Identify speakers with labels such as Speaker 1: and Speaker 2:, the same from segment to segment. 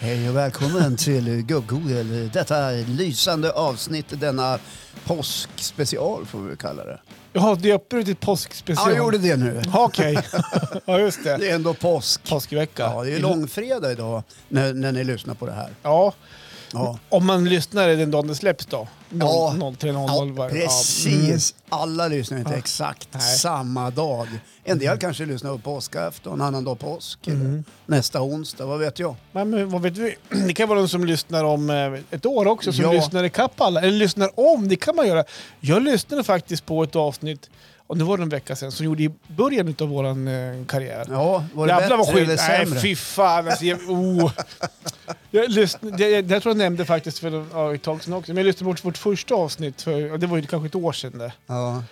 Speaker 1: Hej och välkommen till Gubbgoogle. Detta lysande avsnitt, denna påskspecial får vi kalla det.
Speaker 2: Jaha, döpte du till
Speaker 1: Ja,
Speaker 2: påskspecial?
Speaker 1: jag gjorde det nu.
Speaker 2: Ja, Okej. ja, just
Speaker 1: Det
Speaker 2: det.
Speaker 1: är ändå påsk.
Speaker 2: Påskvecka.
Speaker 1: Ja, det är ju långfredag idag när, när ni lyssnar på det här.
Speaker 2: Ja,
Speaker 1: Ja,
Speaker 2: om man lyssnar den dagen det släpps då.
Speaker 1: Ja.
Speaker 2: 03.00
Speaker 1: ja
Speaker 2: var det.
Speaker 1: precis. Alla lyssnar inte exakt
Speaker 2: Nej.
Speaker 1: samma dag. En del kanske lyssnar på påskafton, en annan dag påsk, eller
Speaker 2: Mm.
Speaker 1: nästa onsdag, vad vet jag.
Speaker 2: Ja. Men vad vet vi? Det kan vara någon som lyssnar om eh, ett år också, som
Speaker 1: Ja.
Speaker 2: lyssnar ikapp alla. Eller lyssnar om, det kan man göra. Jag lyssnade faktiskt på ett avsnitt, och nu var det en vecka sedan, som gjorde i början av vår karriär.
Speaker 1: Ja, var det
Speaker 2: Jävlar vad
Speaker 1: bättre
Speaker 2: skit.
Speaker 1: eller sämre?
Speaker 2: Nej, fy fan. Alltså, jag, oh. jag, lyssn- det, jag, det här tror jag nämnde faktiskt för ja, ett tag sedan också. Men jag lyssnade på vårt, vårt första avsnitt, för, ja, det var ju kanske ett år sedan det.
Speaker 1: ja.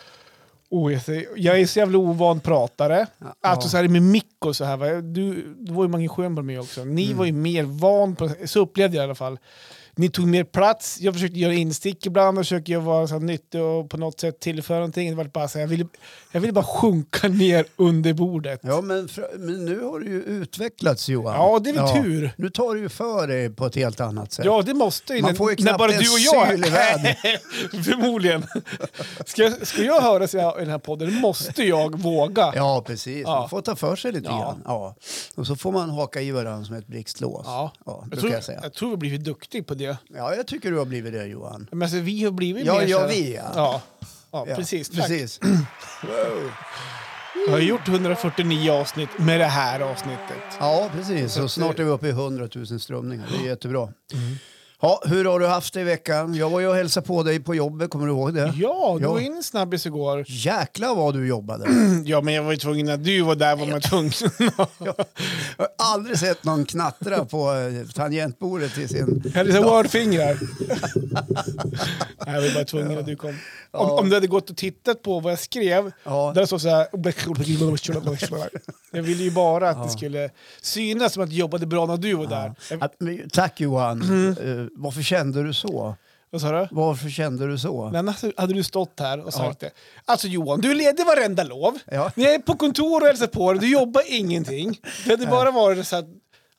Speaker 2: Oh, jag, säger- jag är så jävla ovan pratare.
Speaker 1: Ja.
Speaker 2: Alltså så här med mick och så här. Va? Du, du var ju Mange Schönberg med också. Ni
Speaker 1: Mm.
Speaker 2: var ju mer van, på, så upplevde jag i alla fall. Ni tog mer plats, jag försökte göra instick ibland, jag försökte jag vara så här nyttig och på något sätt tillföra någonting. Det var bara så här, jag, ville, jag ville bara sjunka ner under bordet.
Speaker 1: Ja, men, fr- men nu har du ju utvecklats Johan.
Speaker 2: Ja, det är väl tur.
Speaker 1: Nu tar du ju för dig på ett helt annat sätt.
Speaker 2: Ja, det måste ju.
Speaker 1: Man
Speaker 2: När-
Speaker 1: får ju
Speaker 2: när
Speaker 1: knappt
Speaker 2: bara
Speaker 1: en
Speaker 2: du och jag
Speaker 1: syl i världen.
Speaker 2: Förmodligen. Ska, jag- ska jag höra sig i den här podden måste jag våga. Ja.
Speaker 1: Ja, precis.
Speaker 2: Ja.
Speaker 1: Man får ta för sig lite
Speaker 2: Ja.
Speaker 1: grann. Ja. Och så får man haka i varandra som ett blixtlås. Ja.
Speaker 2: jag,
Speaker 1: brukar
Speaker 2: tror,
Speaker 1: jag säga.
Speaker 2: jag tror vi har blivit duktiga på det.
Speaker 1: Ja, jag tycker du har blivit det Johan.
Speaker 2: Men alltså, vi har blivit
Speaker 1: Ja,
Speaker 2: mer
Speaker 1: ja,
Speaker 2: så här-
Speaker 1: vi, ja.
Speaker 2: Ja. Ja,
Speaker 1: Ja,
Speaker 2: precis. Tack.
Speaker 1: precis. Wow.
Speaker 2: Jag har gjort 149 avsnitt med det här avsnittet.
Speaker 1: Ja, precis. Och snart är vi uppe i 100 000 strömningar. Det är jättebra. Ja, hur har du haft det i veckan? Jag var ju och hälsade på dig på jobbet, kommer du ihåg det?
Speaker 2: Ja, du
Speaker 1: Ja.
Speaker 2: var in en snabbis igår.
Speaker 1: Jäklar vad du jobbade.
Speaker 2: Ja, men jag var ju tvungen att du var där var man tvungen.
Speaker 1: Jag har aldrig sett någon knattra på eh, tangentbordet till sin...
Speaker 2: Jag hade så här wordfingrar. Nej, jag var bara tvungen att du kom. Om, om du hade gått och tittat på vad jag skrev,
Speaker 1: Ja.
Speaker 2: där det stod så här... Jag ville ju bara att det skulle synas som att jag jobbade bra när du var där. Jag,
Speaker 1: Att- men Tack Johan. Eh, Varför kände du så?
Speaker 2: vad sa du?
Speaker 1: Varför kände du så?
Speaker 2: Men alltså, hade du stått här och sagt det. Alltså Johan, du är ledig varenda lov.
Speaker 1: Ja.
Speaker 2: Ni är på kontor och hälsar på dig, du jobbar ingenting. Det hade bara varit så att,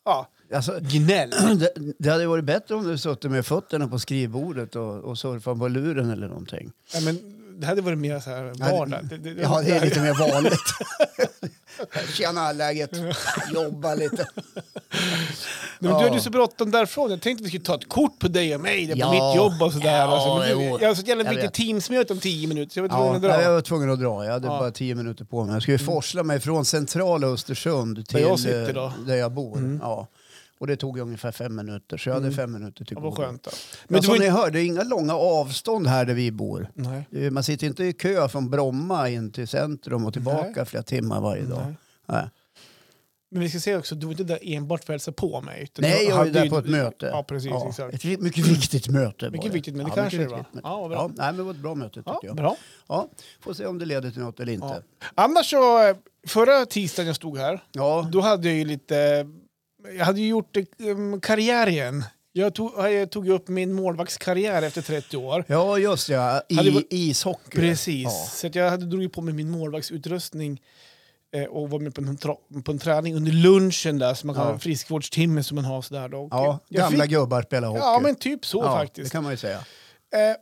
Speaker 2: ja,
Speaker 1: Alltså,
Speaker 2: gnäll.
Speaker 1: det, det hade varit bättre om du suttit med fötterna på skrivbordet och, och surfat på luren eller någonting.
Speaker 2: Ja, men, det hade varit mer så här vardag. Det, det,
Speaker 1: Ja, det är lite mer vanligt. Tjena, läget? Jobba lite.
Speaker 2: Nej, men du
Speaker 1: Ja.
Speaker 2: hade ju så bråttom därifrån. Jag tänkte att vi skulle ta ett kort på dig och mig där på
Speaker 1: Ja.
Speaker 2: mitt jobb och sådär.
Speaker 1: Ja,
Speaker 2: alltså, men
Speaker 1: jo.
Speaker 2: du, jag har så jävla
Speaker 1: Jag
Speaker 2: mycket
Speaker 1: vet.
Speaker 2: Teamsmöte om tio minuter så jag var tvungen
Speaker 1: Ja,
Speaker 2: att
Speaker 1: nej, jag
Speaker 2: dra.
Speaker 1: var tvungen att dra. Jag hade
Speaker 2: Ja. Mm.
Speaker 1: bara tio minuter på mig. Jag skulle forsla mig från centrala Östersund till
Speaker 2: jag
Speaker 1: eh,
Speaker 2: sitter då. Mm.
Speaker 1: där jag bor. Ja. Och det tog ungefär fem minuter, så jag hade fem minuter till
Speaker 2: Ja, vad
Speaker 1: godo.
Speaker 2: skönt då.
Speaker 1: Men
Speaker 2: Men du
Speaker 1: som
Speaker 2: var
Speaker 1: ni
Speaker 2: inte...
Speaker 1: hör, det är inga långa avstånd här där vi bor.
Speaker 2: Nej.
Speaker 1: Det är- Man sitter inte i kö från Bromma in till centrum och tillbaka flera timmar varje dag. Nej.
Speaker 2: Men vi ska se också, du var inte där enbart för att hälsa på mig. utan
Speaker 1: Nej,
Speaker 2: du
Speaker 1: jag var ju
Speaker 2: hade
Speaker 1: där på ett möte.
Speaker 2: Ja, precis. Exakt.
Speaker 1: Ett vi- mycket viktigt möte. var
Speaker 2: Mycket viktigt, men det
Speaker 1: Ja,
Speaker 2: kanske
Speaker 1: mycket
Speaker 2: det var.
Speaker 1: viktigt möte.
Speaker 2: Ja, vad bra.
Speaker 1: Ja, nej, men det var ett bra möte tycker
Speaker 2: Ja,
Speaker 1: jag.
Speaker 2: bra.
Speaker 1: Ja, får se om det leder till något eller inte.
Speaker 2: Ja.
Speaker 1: Ja.
Speaker 2: Annars så, eh, förra tisdagen jag stod här, då hade jag ju lite... Jag hade ju gjort um, karriär igen. Jag tog, jag tog upp min målvaktskarriär efter 30 år.
Speaker 1: Ja, just det. I
Speaker 2: Hade varit-
Speaker 1: ishockey.
Speaker 2: Precis,
Speaker 1: eh, Ja.
Speaker 2: så att jag hade drog ju på mig min målvaktsutrustning eh, och var med på en, tra- på en träning under lunchen där, som man kallar
Speaker 1: Ja.
Speaker 2: friskvårdstimme som man har sådär. Då. Och
Speaker 1: Ja,
Speaker 2: jag
Speaker 1: gamla
Speaker 2: fick-
Speaker 1: gubbar spelar hockey.
Speaker 2: Ja, men typ så
Speaker 1: Ja, Det
Speaker 2: faktiskt.
Speaker 1: kan man ju säga.
Speaker 2: Eh,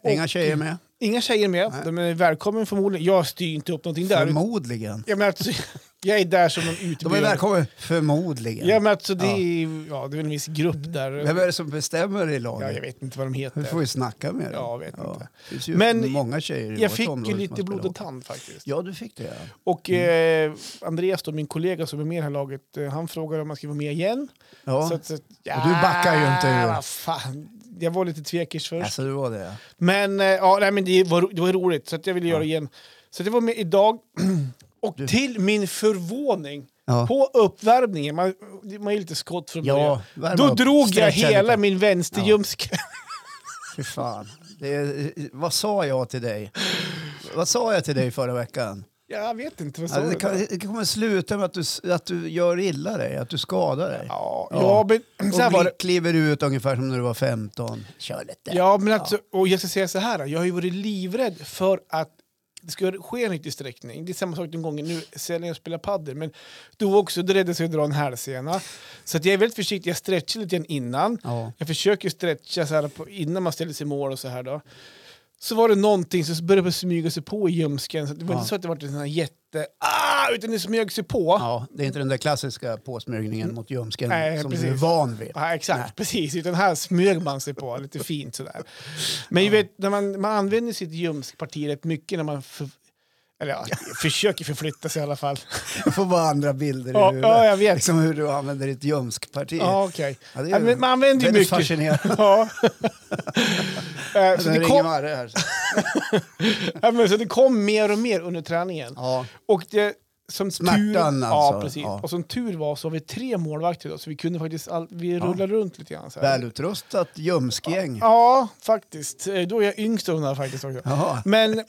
Speaker 2: och-
Speaker 1: Inga tjejer med?
Speaker 2: Inga tjejer med. De är välkommen förmodligen. Jag styr inte upp någonting där.
Speaker 1: Förmodligen.
Speaker 2: Jag, menar, alltså, jag är där som en
Speaker 1: De är
Speaker 2: utbildare.
Speaker 1: välkomna. Förmodligen.
Speaker 2: Ja, men alltså, det, är, ja, det är väl en viss grupp där.
Speaker 1: Vem är det som bestämmer i
Speaker 2: Ja, jag
Speaker 1: laget?
Speaker 2: vet inte vad de
Speaker 1: Vi får
Speaker 2: heter.
Speaker 1: ju snacka med dem.
Speaker 2: Ja, jag vet inte.
Speaker 1: Det finns ju
Speaker 2: Men
Speaker 1: många tjejer i
Speaker 2: Jag
Speaker 1: vårt
Speaker 2: fick
Speaker 1: område
Speaker 2: ju
Speaker 1: som
Speaker 2: lite
Speaker 1: spelar
Speaker 2: blod och
Speaker 1: hockey.
Speaker 2: tand faktiskt.
Speaker 1: Ja, du fick det. ja.
Speaker 2: Och
Speaker 1: Mm.
Speaker 2: eh, Andreas, då, min kollega som är med i det här laget, eh, han frågade om jag skulle vara med igen.
Speaker 1: Ja.
Speaker 2: Så att- så att-
Speaker 1: du backar ju inte ur.
Speaker 2: Ja, vad fan. Jag var lite tvekis först.
Speaker 1: Alltså, det var det.
Speaker 2: Men, eh, ja, nej, men det, var, ro- det var roligt, så att jag ville göra det igen. Så att jag var med idag. Och till min förvåning,
Speaker 1: Ja.
Speaker 2: på uppvärmningen, man, man är lite skott från
Speaker 1: Ja,
Speaker 2: början.
Speaker 1: värma
Speaker 2: Då
Speaker 1: upp,
Speaker 2: drog jag
Speaker 1: stretcha
Speaker 2: hela
Speaker 1: lite.
Speaker 2: min vänsterljumske.
Speaker 1: Fy fan. Det är, vad sa jag till dig? Vad sa jag till dig förra veckan?
Speaker 2: Jag vet inte, vad sa
Speaker 1: Alltså,
Speaker 2: du?
Speaker 1: det, kan,
Speaker 2: då?
Speaker 1: det kommer sluta med att du, s- att du gör illa dig, att du skadar dig.
Speaker 2: Ja,
Speaker 1: Ja.
Speaker 2: ja. men så här
Speaker 1: och
Speaker 2: var det.
Speaker 1: bli- kliver ut ungefär som när du var 15. Kör lite.
Speaker 2: Ja, men alltså, och jag ska säga så här, jag har ju varit livrädd för att det ska ske en riktig sträckning. Det är samma sak den gången nu, sen när jag spelar padel. Men då också, då räddades jag att dra en hälsena. Så att jag är väldigt försiktig, jag stretchar lite grann innan.
Speaker 1: Ja.
Speaker 2: Jag försöker stretcha så här på, innan man ställer sig i mål och så här då. Så var det någonting som började smyga sig på i ljumsken. Så det var
Speaker 1: Ja.
Speaker 2: inte så att det var en sån här jätte... Ah! Utan det smög sig på.
Speaker 1: Ja, det är inte den där klassiska påsmörgningen mot ljumsken
Speaker 2: Nej,
Speaker 1: som du är
Speaker 2: precis.
Speaker 1: van vid.
Speaker 2: Ja, exakt, precis. Utan här smög man sig på lite fint sådär. Men ju vet, när man, man använder sitt ljumskparti rätt mycket när man för, eller, ja, försöker förflytta sig i alla fall.
Speaker 1: Jag får bara andra bilder i
Speaker 2: Ja,
Speaker 1: huvudet.
Speaker 2: ja, jag vet.
Speaker 1: Liksom hur du använder ditt ljumskparti.
Speaker 2: Ja, okej.
Speaker 1: Ja, det är
Speaker 2: Ja, men man använder ju
Speaker 1: väldigt
Speaker 2: mycket.
Speaker 1: fascinerande.
Speaker 2: Ja. Eh, så,
Speaker 1: Nu
Speaker 2: det
Speaker 1: ringer
Speaker 2: kom,
Speaker 1: Marre här.
Speaker 2: ja, men så det kom mer och mer under träningen.
Speaker 1: Ja,
Speaker 2: Och det, som tur,
Speaker 1: Smärtan alltså,
Speaker 2: Ja, precis.
Speaker 1: ja.
Speaker 2: Och som tur var så har vi tre målvakter idag, så vi kunde faktiskt all, vi rullade runt lite grann. Så här.
Speaker 1: välutrustat ljumskgäng.
Speaker 2: Ja, faktiskt. Eh, Då är jag yngst av de här faktiskt också.
Speaker 1: Jaha.
Speaker 2: Men...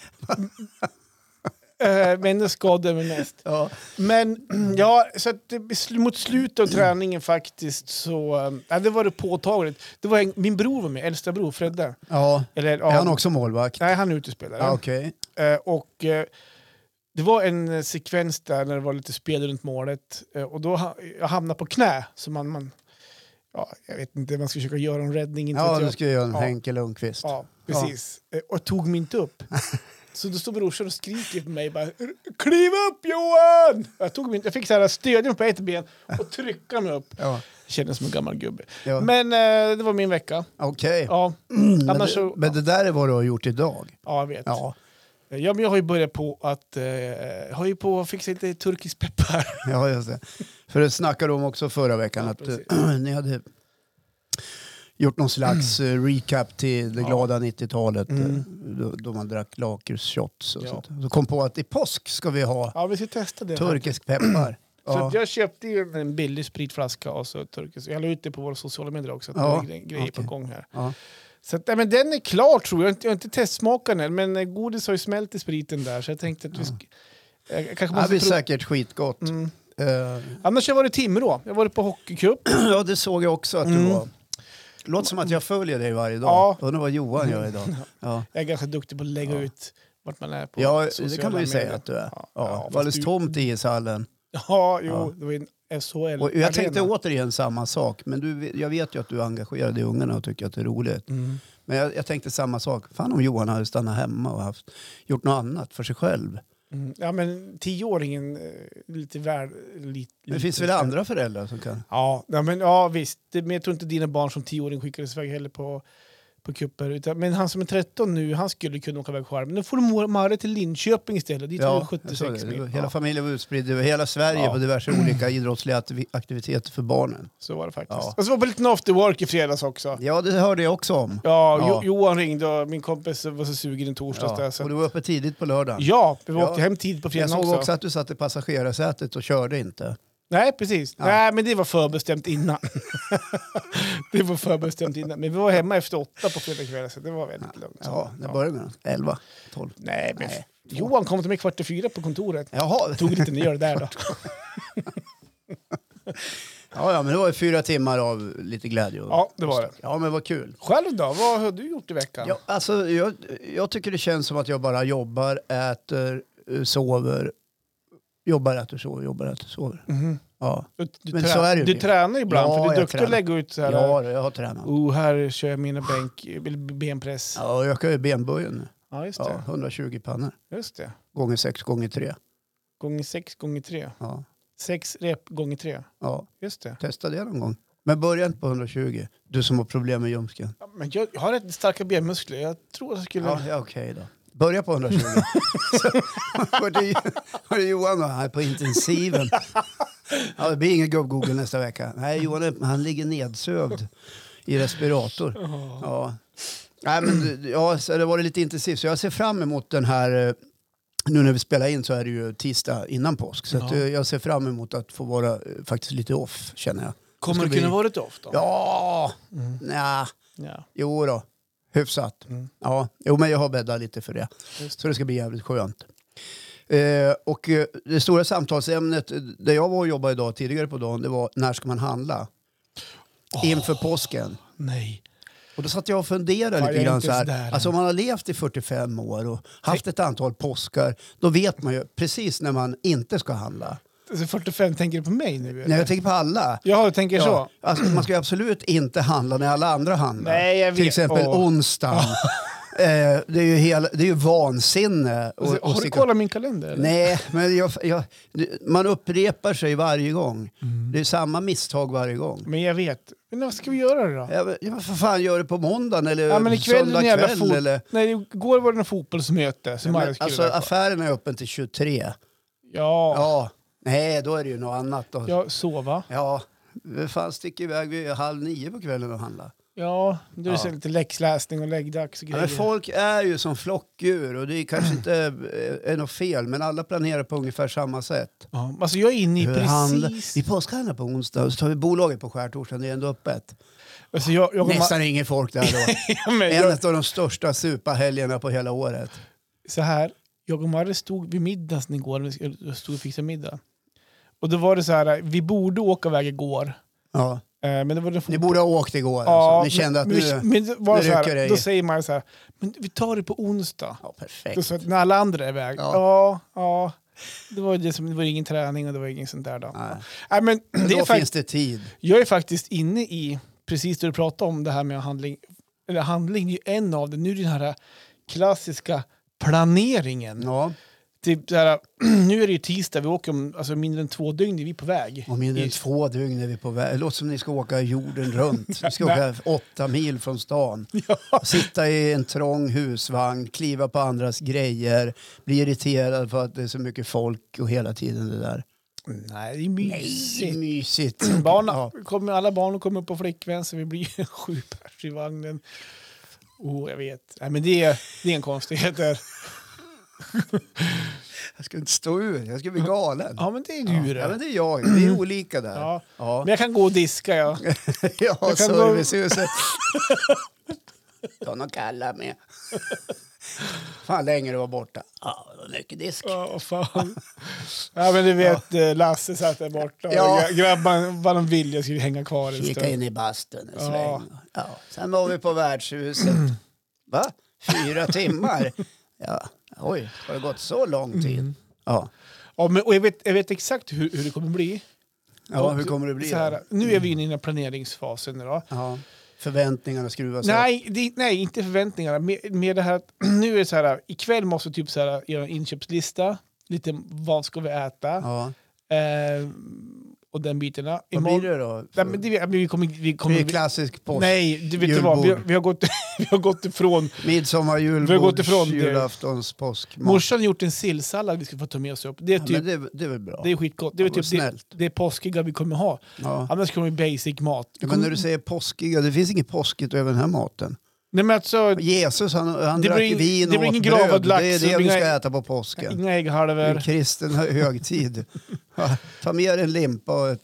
Speaker 2: eh, men det skadade mig mest.
Speaker 1: Ja.
Speaker 2: Men ja, så att det, sl- mot slutet av träningen faktiskt så... eh, Ja, det var det påtagligt. Det var en, min bror var med, äldsta bror, Fredde.
Speaker 1: ja.
Speaker 2: Eller,
Speaker 1: Är
Speaker 2: ja,
Speaker 1: han också målvakt?
Speaker 2: Nej, han är utespelare.
Speaker 1: Ja, Okej.
Speaker 2: Eh, och eh, det var en eh, sekvens där när det var lite spel runt målet eh, och då ha, jag hamnade på knä. Så man, man, ja, jag vet inte, man ska försöka göra en räddning. Inte
Speaker 1: Ja,
Speaker 2: vet
Speaker 1: nu
Speaker 2: jag.
Speaker 1: ska jag göra en
Speaker 2: Ja.
Speaker 1: Henke Lundqvist.
Speaker 2: Ja, precis. Eh, Och tog mig inte upp. Så då står brorsan och skriker på mig bara Kliv upp Johan! Jag, tog mig inte, jag fick så här stödja mig på ett ben och trycka mig upp.
Speaker 1: Ja.
Speaker 2: Jag kände som en gammal gubbe.
Speaker 1: Ja.
Speaker 2: Men eh, det var min vecka.
Speaker 1: Okej.
Speaker 2: Ja,
Speaker 1: Men,
Speaker 2: annars
Speaker 1: det,
Speaker 2: så...
Speaker 1: men det där är vad du har gjort idag.
Speaker 2: Ja, jag vet.
Speaker 1: Ja,
Speaker 2: Ja, men jag har ju börjat på att eh, jag har ju på att fixa lite turkisk peppar.
Speaker 1: ja just det. För det snackade de om också förra veckan,
Speaker 2: Ja,
Speaker 1: att eh, ni hade gjort någon slags eh, recap till det
Speaker 2: Mm. Ja.
Speaker 1: glada 90-talet eh,
Speaker 2: Mm.
Speaker 1: då, då man drack lakritsshots och
Speaker 2: Ja.
Speaker 1: sånt. Så kom på att i påsk ska vi ha
Speaker 2: Ja, vi ska testa det.
Speaker 1: turkisk peppar.
Speaker 2: Så
Speaker 1: Ja.
Speaker 2: att jag köpte ju en billig spritflaska och så turkisk. Jag la ut det på våra sociala medier också, att
Speaker 1: Ja,
Speaker 2: det är gre- grejer på
Speaker 1: okej.
Speaker 2: gång här.
Speaker 1: Ja.
Speaker 2: Så att, nej, men den är klar tror jag. Jag har inte- Jag har inte testsmakat den än, men eh, godis har ju smält i spriten där. Så jag tänkte att vi sk- jag jag kanske
Speaker 1: Det
Speaker 2: måste
Speaker 1: blir
Speaker 2: prova.
Speaker 1: säkert skitgott.
Speaker 2: Mm.
Speaker 1: Eh,
Speaker 2: Annars har jag varit i Timrå. Jag har varit på hockeycup.
Speaker 1: ja, det såg jag också att du
Speaker 2: Mm.
Speaker 1: var. Låter som att jag följer dig varje dag.
Speaker 2: Ja.
Speaker 1: Undrar vad Johan gör idag. Ja.
Speaker 2: Jag är ganska duktig på att lägga
Speaker 1: Ja.
Speaker 2: ut vart man är på
Speaker 1: Ja, det
Speaker 2: sociala
Speaker 1: kan man ju
Speaker 2: medier.
Speaker 1: säga att du är.
Speaker 2: Ja,
Speaker 1: Ja,
Speaker 2: ja,
Speaker 1: det var
Speaker 2: fast
Speaker 1: alldeles
Speaker 2: du-
Speaker 1: tomt i ishallen.
Speaker 2: Ja, jo,
Speaker 1: Ja.
Speaker 2: det var ju en SHL.
Speaker 1: Och jag tänkte
Speaker 2: arena.
Speaker 1: återigen samma sak, men du, jag vet ju att du är engagerad i ungarna och tycker att det är roligt.
Speaker 2: Mm.
Speaker 1: Men jag, jag tänkte samma sak. Fan om Johan hade stannat hemma och haft, gjort något annat för sig själv.
Speaker 2: Mm. Ja, men tioåringen eh, lite väl... Lite,
Speaker 1: Men det finns väl andra föräldrar som kan?
Speaker 2: Ja, ja, men, ja visst. Det- Men jag tror inte dina barn som tioåring skickades iväg heller på, på kupper. Utan, men han som är 13 nu, han skulle kunna åka iväg själv. Men då får du Marre till Linköping istället. Dit är det
Speaker 1: jag såg
Speaker 2: 76
Speaker 1: det. Det var-
Speaker 2: mil.
Speaker 1: Hela
Speaker 2: Ja,
Speaker 1: familjen var utspridd över hela Sverige
Speaker 2: Ja.
Speaker 1: på diverse olika idrottsliga aktiv- aktiviteter för barnen.
Speaker 2: så var det faktiskt.
Speaker 1: Ja.
Speaker 2: Och så var det en liten after work i fredags också.
Speaker 1: Ja, det hörde jag också om.
Speaker 2: Ja,
Speaker 1: Ja.
Speaker 2: Jo, Johan ringde och min kompis var så sugen i torsdags.
Speaker 1: Ja.
Speaker 2: Där, så.
Speaker 1: Och du var uppe tidigt på lördagen.
Speaker 2: Ja, vi
Speaker 1: Ja.
Speaker 2: åkte hem tid på
Speaker 1: jag
Speaker 2: fredagen
Speaker 1: såg
Speaker 2: också.
Speaker 1: också. att du satt i passagerarsätet och körde inte.
Speaker 2: Nej, precis.
Speaker 1: Ja.
Speaker 2: Nej, men det var förbestämt innan. det var förbestämt innan. Men vi var hemma efter åtta på fredagskvällen, så det var väldigt lugnt.
Speaker 1: Ja, det började med 11, 12.
Speaker 2: Nej, men
Speaker 1: Nej, två.
Speaker 2: Johan kom till mig kvart i fyra på kontoret.
Speaker 1: Jaha,
Speaker 2: Tog lite ner det där då.
Speaker 1: Ja, ja, men det var ju fyra timmar av lite glädje. Och,
Speaker 2: Ja, det var det.
Speaker 1: Ja, men vad kul.
Speaker 2: Själv då? Vad har du gjort i veckan?
Speaker 1: Ja, alltså, jag, jag tycker det känns som att jag bara jobbar, äter, eh, sover. Jobbar, äter, sover, jobbar, äter, sover.
Speaker 2: Mhm.
Speaker 1: Ja,
Speaker 2: Du, du,
Speaker 1: Men
Speaker 2: trä-
Speaker 1: så är det ju.
Speaker 2: du tränar ibland,
Speaker 1: Ja,
Speaker 2: för du är
Speaker 1: jag
Speaker 2: duktig att
Speaker 1: tränar.
Speaker 2: lägga ut så här.
Speaker 1: ja jag har tränat.
Speaker 2: Oh, här kör jag mina bänk, eller benpress. Ja,
Speaker 1: Ja, jag ökar ju benböjen nu.
Speaker 2: just
Speaker 1: Ja,
Speaker 2: det.
Speaker 1: 120 pannor.
Speaker 2: Just det.
Speaker 1: Gånger 6 gånger 3.
Speaker 2: Gånger sex, gånger tre.
Speaker 1: Ja,
Speaker 2: Sex rep gånger tre.
Speaker 1: ja,
Speaker 2: Just det.
Speaker 1: testa det någon gång. Men börja inte på 120. Du som har problem med ljumsken.
Speaker 2: Ja, men jag, jag har rätt starka benmuskler. Jag tror att jag skulle...
Speaker 1: Ja, ja okej då. Börja på 120. Så- Var det, var det Johan då? Han är på intensiven. Ja, det blir ingen gubb-google nästa vecka. Nej, Johan är, han ligger nedsövd i respirator.
Speaker 2: Åh.
Speaker 1: Ja. Nej, men, det- ja, så det var lite intensivt. Så jag ser fram emot den här... eh, Nu när vi spelar in så är det ju tisdag innan påsk. Så att,
Speaker 2: Ja.
Speaker 1: eh, jag ser fram emot att få vara eh, faktiskt lite off, känner jag.
Speaker 2: Kommer
Speaker 1: ska
Speaker 2: det kunna
Speaker 1: bli-
Speaker 2: vara ett off då?
Speaker 1: Ja,
Speaker 2: Mm.
Speaker 1: nja,
Speaker 2: ja.
Speaker 1: jo då. Hyfsat.
Speaker 2: Mm.
Speaker 1: Ja, jo, men jag har bäddat lite för det.
Speaker 2: Just
Speaker 1: Så det ska bli jävligt skönt. Eh, och eh, det stora samtalsämnet eh, där jag var och jobbade idag tidigare på dagen det var när ska man handla? Inför påsken.
Speaker 2: Nej.
Speaker 1: Och då satt jag och funderade
Speaker 2: Fan, jag
Speaker 1: lite
Speaker 2: är
Speaker 1: grann
Speaker 2: inte
Speaker 1: så här.
Speaker 2: sådär.
Speaker 1: Alltså om man har levt i 45 år och haft ett antal påskar, då vet man ju precis när man inte ska handla.
Speaker 2: Alltså 45, tänker du på mig nu? eller?
Speaker 1: Nej, jag tänker på alla.
Speaker 2: Jaha, du tänker så?
Speaker 1: Alltså, man ska ju absolut inte handla när alla andra handlar.
Speaker 2: Nej, jag
Speaker 1: Till
Speaker 2: vet.
Speaker 1: exempel
Speaker 2: Åh.
Speaker 1: onsdagen. eh, det, är ju hela, det är ju vansinne. att-
Speaker 2: Alltså,
Speaker 1: att
Speaker 2: har du
Speaker 1: sticka-
Speaker 2: kollat min kalender? eller?
Speaker 1: Nej, men jag, jag, du- man upprepar sig varje gång.
Speaker 2: Mm.
Speaker 1: Det är samma misstag varje gång.
Speaker 2: Men jag vet. Men vad ska vi göra då?
Speaker 1: Ja, men- ja, vad fan gör du på måndagen eller
Speaker 2: Ja, men ikväll är det
Speaker 1: Eh, söndag
Speaker 2: en jävla
Speaker 1: kväll?
Speaker 2: fot...
Speaker 1: eller?
Speaker 2: Nej, igår var det något fotbollsmöte som
Speaker 1: Men,
Speaker 2: Marius skulle
Speaker 1: alltså,
Speaker 2: iväg på.
Speaker 1: affären är öppen till 23.
Speaker 2: Ja,
Speaker 1: Ja, nej, då är det ju något annat. Då. Ja.
Speaker 2: jag sova.
Speaker 1: Vem fan sticker iväg vid halv nio på kvällen och handlar?
Speaker 2: Ja, du
Speaker 1: Ja.
Speaker 2: är lite läxläsning och läggdags och
Speaker 1: Ja,
Speaker 2: grejer.
Speaker 1: men folk är ju som flockdjur och det är kanske inte eh, är något fel, men alla planerar på ungefär samma sätt.
Speaker 2: Ja, alltså jag är inne i
Speaker 1: Hur handlar-
Speaker 2: precis...
Speaker 1: Vi påskhandlar på onsdag och så tar vi bolaget på skärtorsdagen, det är ändå öppet.
Speaker 2: Alltså jag, jag, kommer-
Speaker 1: Nästan inget folk där då.
Speaker 2: Ja, men
Speaker 1: En
Speaker 2: jag,
Speaker 1: av de största supahelgerna på hela året.
Speaker 2: så här, jag och Marre stod vid middagen igår, vi skulle- jag stod och fixade middag. Och då var det så här, vi borde åka iväg igår.
Speaker 1: Ja.
Speaker 2: eh, Men det var det
Speaker 1: Ni borde ha åkt igår. alltså. Ni kände att
Speaker 2: men,
Speaker 1: nu...
Speaker 2: men det var
Speaker 1: nu
Speaker 2: så
Speaker 1: rycker det
Speaker 2: här,
Speaker 1: i.
Speaker 2: Då säger man så här, men vi tar det på onsdag.
Speaker 1: Ja,
Speaker 2: Då
Speaker 1: perfekt.
Speaker 2: sa jag, när alla andra är iväg.
Speaker 1: Ja.
Speaker 2: Ja, ja. Det, var ju det, som, det var ingen träning och det var inget sånt där. Då.
Speaker 1: Nej.
Speaker 2: Nej, men det
Speaker 1: Då
Speaker 2: är fakt-
Speaker 1: finns det tid.
Speaker 2: jag är faktiskt inne i, precis det du pratade om, det här med handling. Eller handling är ju en av det. Nu är det den här klassiska planeringen.
Speaker 1: Ja,
Speaker 2: Typ så här, nu är det ju tisdag, vi åker om alltså, mindre än två dygn, är vi på väg.
Speaker 1: om mindre än
Speaker 2: I-
Speaker 1: två dygn är vi på väg. Det låter som ni ska åka jorden runt. Ni ska
Speaker 2: Nej.
Speaker 1: åka åtta mil från stan.
Speaker 2: Ja.
Speaker 1: Sitta i en trång husvagn, kliva på andras grejer, bli irriterad för att det är så mycket folk och hela tiden det där.
Speaker 2: Nej, det är
Speaker 1: Det är
Speaker 2: mysigt.
Speaker 1: mysigt.
Speaker 2: Barna,
Speaker 1: Ja.
Speaker 2: kommer, alla barn kommer upp på flickvän så vi blir sju pers i vagnen. Oh, jag vet. Nej, men det, är- det är en konstighet där.
Speaker 1: Jag ska inte stå ur, jag ska bli galen.
Speaker 2: Ja, men det är du
Speaker 1: Ja, men
Speaker 2: det.
Speaker 1: det är jag. Vi är olika där.
Speaker 2: Ja.
Speaker 1: Ja.
Speaker 2: Men jag kan gå och diska, ja.
Speaker 1: Ja,
Speaker 2: kan gå-
Speaker 1: servicehuset. Ta någon kalla med. Fan länge du var borta. Ja, det var mycket disk.
Speaker 2: Ja, vad fan. Ja, men du vet, eh, Lasse satt där borta och
Speaker 1: Ja.
Speaker 2: gra- grabbarna, vad de ville, skulle hänga kvar en
Speaker 1: Kika
Speaker 2: stund.
Speaker 1: in i bastun en
Speaker 2: Ja.
Speaker 1: sväng. Ja. Sen var vi på värdshuset. Va? Fyra timmar? Ja. Oj, har det gått så lång tid?
Speaker 2: Mm.
Speaker 1: Ja.
Speaker 2: Ja, men, och jag vet, jag vet exakt hur, hur det kommer bli.
Speaker 1: ja, hur kommer det bli?
Speaker 2: Så här,
Speaker 1: då? Mm.
Speaker 2: nu är vi inne i den här planeringsfasen. Då.
Speaker 1: Ja. Förväntningarna skruvas upp.
Speaker 2: Nej, det, nej, inte förväntningarna. Mer, mer det här att nu är det så här, ikväll måste vi typ så här, göra en inköpslista. Lite vad ska vi äta?
Speaker 1: Ja.
Speaker 2: Eh, och den biten.
Speaker 1: Vad blir det då?
Speaker 2: Nej, men det, men vi kommer... Vi
Speaker 1: det
Speaker 2: kommer
Speaker 1: är klassisk påsk.
Speaker 2: nej, du vet du vad? Vi, har-
Speaker 1: julbord.
Speaker 2: vi, har gått, vi har gått ifrån...
Speaker 1: Midsommar,
Speaker 2: Vi har gått
Speaker 1: julbords,
Speaker 2: ifrån det.
Speaker 1: julaftons, påskmat.
Speaker 2: Morsan har gjort en sillsallad vi ska få ta med oss upp. Det är,
Speaker 1: Ja,
Speaker 2: typ,
Speaker 1: men det, det är väl bra.
Speaker 2: det är skitgott. Det är
Speaker 1: Ja, men
Speaker 2: typ det,
Speaker 1: snällt.
Speaker 2: det är påskiga vi kommer ha.
Speaker 1: ja.
Speaker 2: Annars kommer det basic mat.
Speaker 1: Ja, men när du säger påskiga, det finns inget påskigt över den här maten.
Speaker 2: Nej, men alltså,
Speaker 1: Jesus han, han
Speaker 2: Det
Speaker 1: drack
Speaker 2: blir ing-
Speaker 1: vin
Speaker 2: det
Speaker 1: och
Speaker 2: blir
Speaker 1: åt
Speaker 2: ingen
Speaker 1: bröd.
Speaker 2: gravad
Speaker 1: Det är
Speaker 2: lax
Speaker 1: det
Speaker 2: och
Speaker 1: vi ska
Speaker 2: inga-
Speaker 1: äta på påsken.
Speaker 2: inga
Speaker 1: En
Speaker 2: ägghalvor.
Speaker 1: kristen hö- högtid. Ja, Ta med dig en limpa och ett,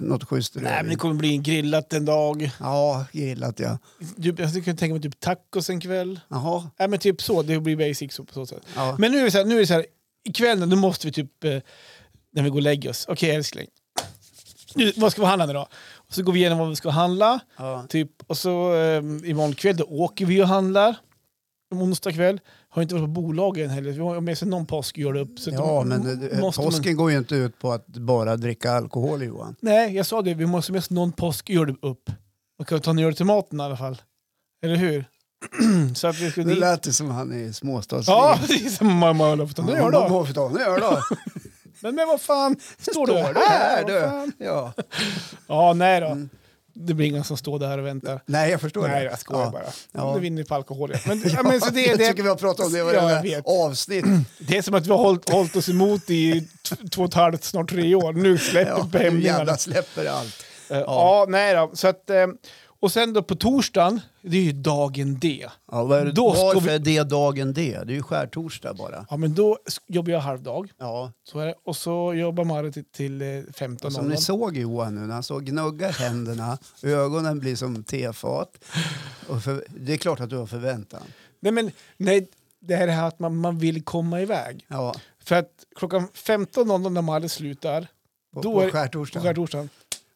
Speaker 1: något schysst
Speaker 2: Nej, men det
Speaker 1: rödvin.
Speaker 2: kommer bli en grillat en dag.
Speaker 1: Ja, grillat ja.
Speaker 2: Du, jag skulle kunna tänka mig typ tacos en kväll.
Speaker 1: Jaha.
Speaker 2: Nej, men typ så. Det blir basic så, på så sätt.
Speaker 1: Ja.
Speaker 2: Men nu är det så här, nu är det så här i kvällen då måste vi typ, eh, när vi går och lägger oss, okej älskling, nu, vad ska vi handla idag? Och så går vi igenom vad vi ska handla,
Speaker 1: Ja.
Speaker 2: typ, och så eh, imorgon kväll då åker vi och handlar. Om Onsdag kväll. Har inte varit på bolagen heller. Vi har med oss någon påsk gör det upp. Så
Speaker 1: Ja,
Speaker 2: då
Speaker 1: men eh,
Speaker 2: måste man-
Speaker 1: påsken går ju inte ut på att bara dricka alkohol Johan.
Speaker 2: Nej, jag sa det. Vi måste med oss någon påsk gör det upp. Man kan ta ner det till maten i alla fall. Eller hur? så att vi ska
Speaker 1: Det
Speaker 2: dit.
Speaker 1: lät ju som han i småstadsliv.
Speaker 2: Ja, precis. Mamma höll på att ta ner
Speaker 1: Ja,
Speaker 2: då.
Speaker 1: må vi ta. Nu gör då.
Speaker 2: Men, men vad fan, står du
Speaker 1: Står det här
Speaker 2: här? Vad
Speaker 1: du.
Speaker 2: fan?
Speaker 1: Ja.
Speaker 2: Ja, nej då. Det blir ingen som står där och väntar.
Speaker 1: Nej, jag förstår
Speaker 2: Nej,
Speaker 1: det.
Speaker 2: jag skojar
Speaker 1: Ja.
Speaker 2: bara.
Speaker 1: Ja.
Speaker 2: Nu vinner vi på alkohol. ja. Men, ja, men, så det,
Speaker 1: jag
Speaker 2: det,
Speaker 1: tycker vi har pratat om det i
Speaker 2: Ja, jag
Speaker 1: varenda
Speaker 2: vet.
Speaker 1: avsnitt.
Speaker 2: det är som att vi har hållit, hållit oss emot i t- två och ett halvt, snart tre år. Nu släpper
Speaker 1: Ja,
Speaker 2: ja, på
Speaker 1: nu
Speaker 2: hämningarna.
Speaker 1: jävlar släpper det allt.
Speaker 2: Eh, ja, nej då. Så att, eh, och sen då på torsdagen, det är ju dagen D.
Speaker 1: Ja, vad är det,
Speaker 2: Då ska
Speaker 1: varför
Speaker 2: vi-
Speaker 1: är det dagen det? Det är ju skärtorsdag bara.
Speaker 2: Ja, men då s- jobbar jag halvdag.
Speaker 1: Ja.
Speaker 2: Så är det. Och så jobbar Marit till, till eh, 15.00.
Speaker 1: Som ni såg Johan nu när han så gnuggar händerna, ögonen blir som tefat. Och för, det är klart att du har förväntan.
Speaker 2: Nej, men nej, det här är det här att man, man vill komma iväg.
Speaker 1: Ja,
Speaker 2: För att klockan 15.00 när Marit slutar,
Speaker 1: på,
Speaker 2: Då
Speaker 1: på
Speaker 2: är- på
Speaker 1: skärtorsdagen.
Speaker 2: skärtorsdagen,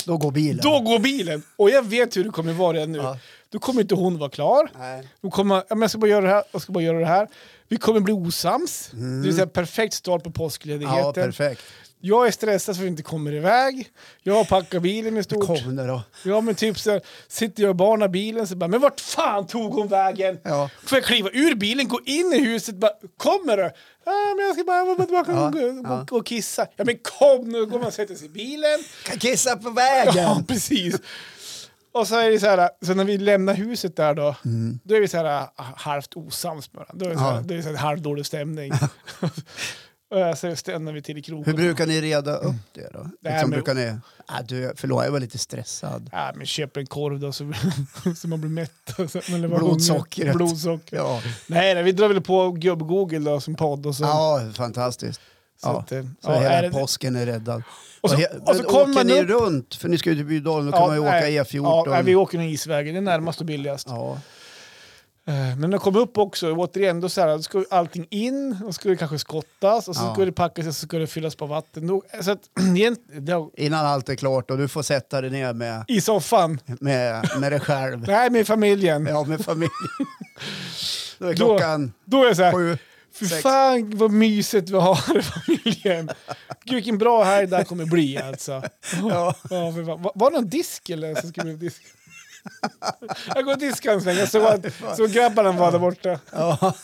Speaker 1: Då går bilen.
Speaker 2: Då går bilen! Och jag vet hur det kommer vara redan nu.
Speaker 1: Ja.
Speaker 2: Då kommer inte hon vara klar.
Speaker 1: Nej.
Speaker 2: Hon kommer, ja, men jag ska bara göra det här, jag ska bara göra det här. Vi kommer bli osams. Det är så här perfekt start på påskledigheten.
Speaker 1: Mm. Ja, perfekt.
Speaker 2: Jag är stressad för att vi inte kommer iväg. Jag packar bilen i stort.
Speaker 1: Kom nu då.
Speaker 2: Ja men typ så här, sitter jag och barnar bilen så bara, men vart fan tog hon vägen?
Speaker 1: Ja.
Speaker 2: Får jag kliva ur bilen, gå in i huset, bara, kommer du? Ja men jag ska bara vara tillbaka
Speaker 1: Ja,
Speaker 2: och, gå-
Speaker 1: ja.
Speaker 2: gå och kissa. Ja men kom nu, går man och sätter sig i bilen.
Speaker 1: Kan kissa på
Speaker 2: Ja
Speaker 1: vägen!
Speaker 2: precis. Och så är det så här, så när vi lämnar huset där då, då är vi så här ah, halvt osams med varandra. Då är det, så här,
Speaker 1: Mm. Ja.
Speaker 2: då är det så här, halvdålig stämning. Och så stannar vi till i krogen.
Speaker 1: Hur brukar ni reda upp det då?
Speaker 2: Nej,
Speaker 1: Liksom,
Speaker 2: men-
Speaker 1: brukar ni... Ah, du, förlåt, jag var lite stressad.
Speaker 2: Ja, men köp en korv då så, så man blir mätt. och så- Eller vad-
Speaker 1: Blodsockret.
Speaker 2: Blodsocker.
Speaker 1: Ja,
Speaker 2: Nej, nej, vi drar väl på gubb-Google då som podd och så.
Speaker 1: ja fantastiskt.
Speaker 2: så
Speaker 1: ja.
Speaker 2: att, eh,
Speaker 1: Så
Speaker 2: ja, är
Speaker 1: hela
Speaker 2: det-
Speaker 1: påsken är räddad.
Speaker 2: Och så-
Speaker 1: he-
Speaker 2: och så
Speaker 1: men
Speaker 2: kommer
Speaker 1: åker
Speaker 2: man
Speaker 1: ni
Speaker 2: upp-
Speaker 1: runt? För ni ska ju till Bydalen, då kan man ju åka
Speaker 2: nej,
Speaker 1: E14.
Speaker 2: Ja, nej, vi åker nog isvägen, det är närmast och billigast.
Speaker 1: Ja.
Speaker 2: Eh, Men när de kom upp också, återigen, då, så här, då ska ju allting in, och ska det kanske skottas, och så
Speaker 1: Ja.
Speaker 2: ska det packas och så ska det fyllas på vatten. Då- eh, Så att, egent- då-
Speaker 1: Innan allt är klart och du får sätta dig ner med,
Speaker 2: I soffan.
Speaker 1: med, med dig själv.
Speaker 2: Nej, med familjen.
Speaker 1: Ja, med familjen. Då är
Speaker 2: Då-
Speaker 1: klockan
Speaker 2: Då är jag så här,
Speaker 1: sju.
Speaker 2: Fy
Speaker 1: Sex.
Speaker 2: fan vad mysigt vi har i familjen. Gud vilken bra helg det här kommer bli alltså.
Speaker 1: Ja.
Speaker 2: Ja, för fan. Var, var det någon disk eller? Så skulle vi disk? Jag går och diskar en sväng, jag såg, att, såg grabbarna var där borta.
Speaker 1: Ja.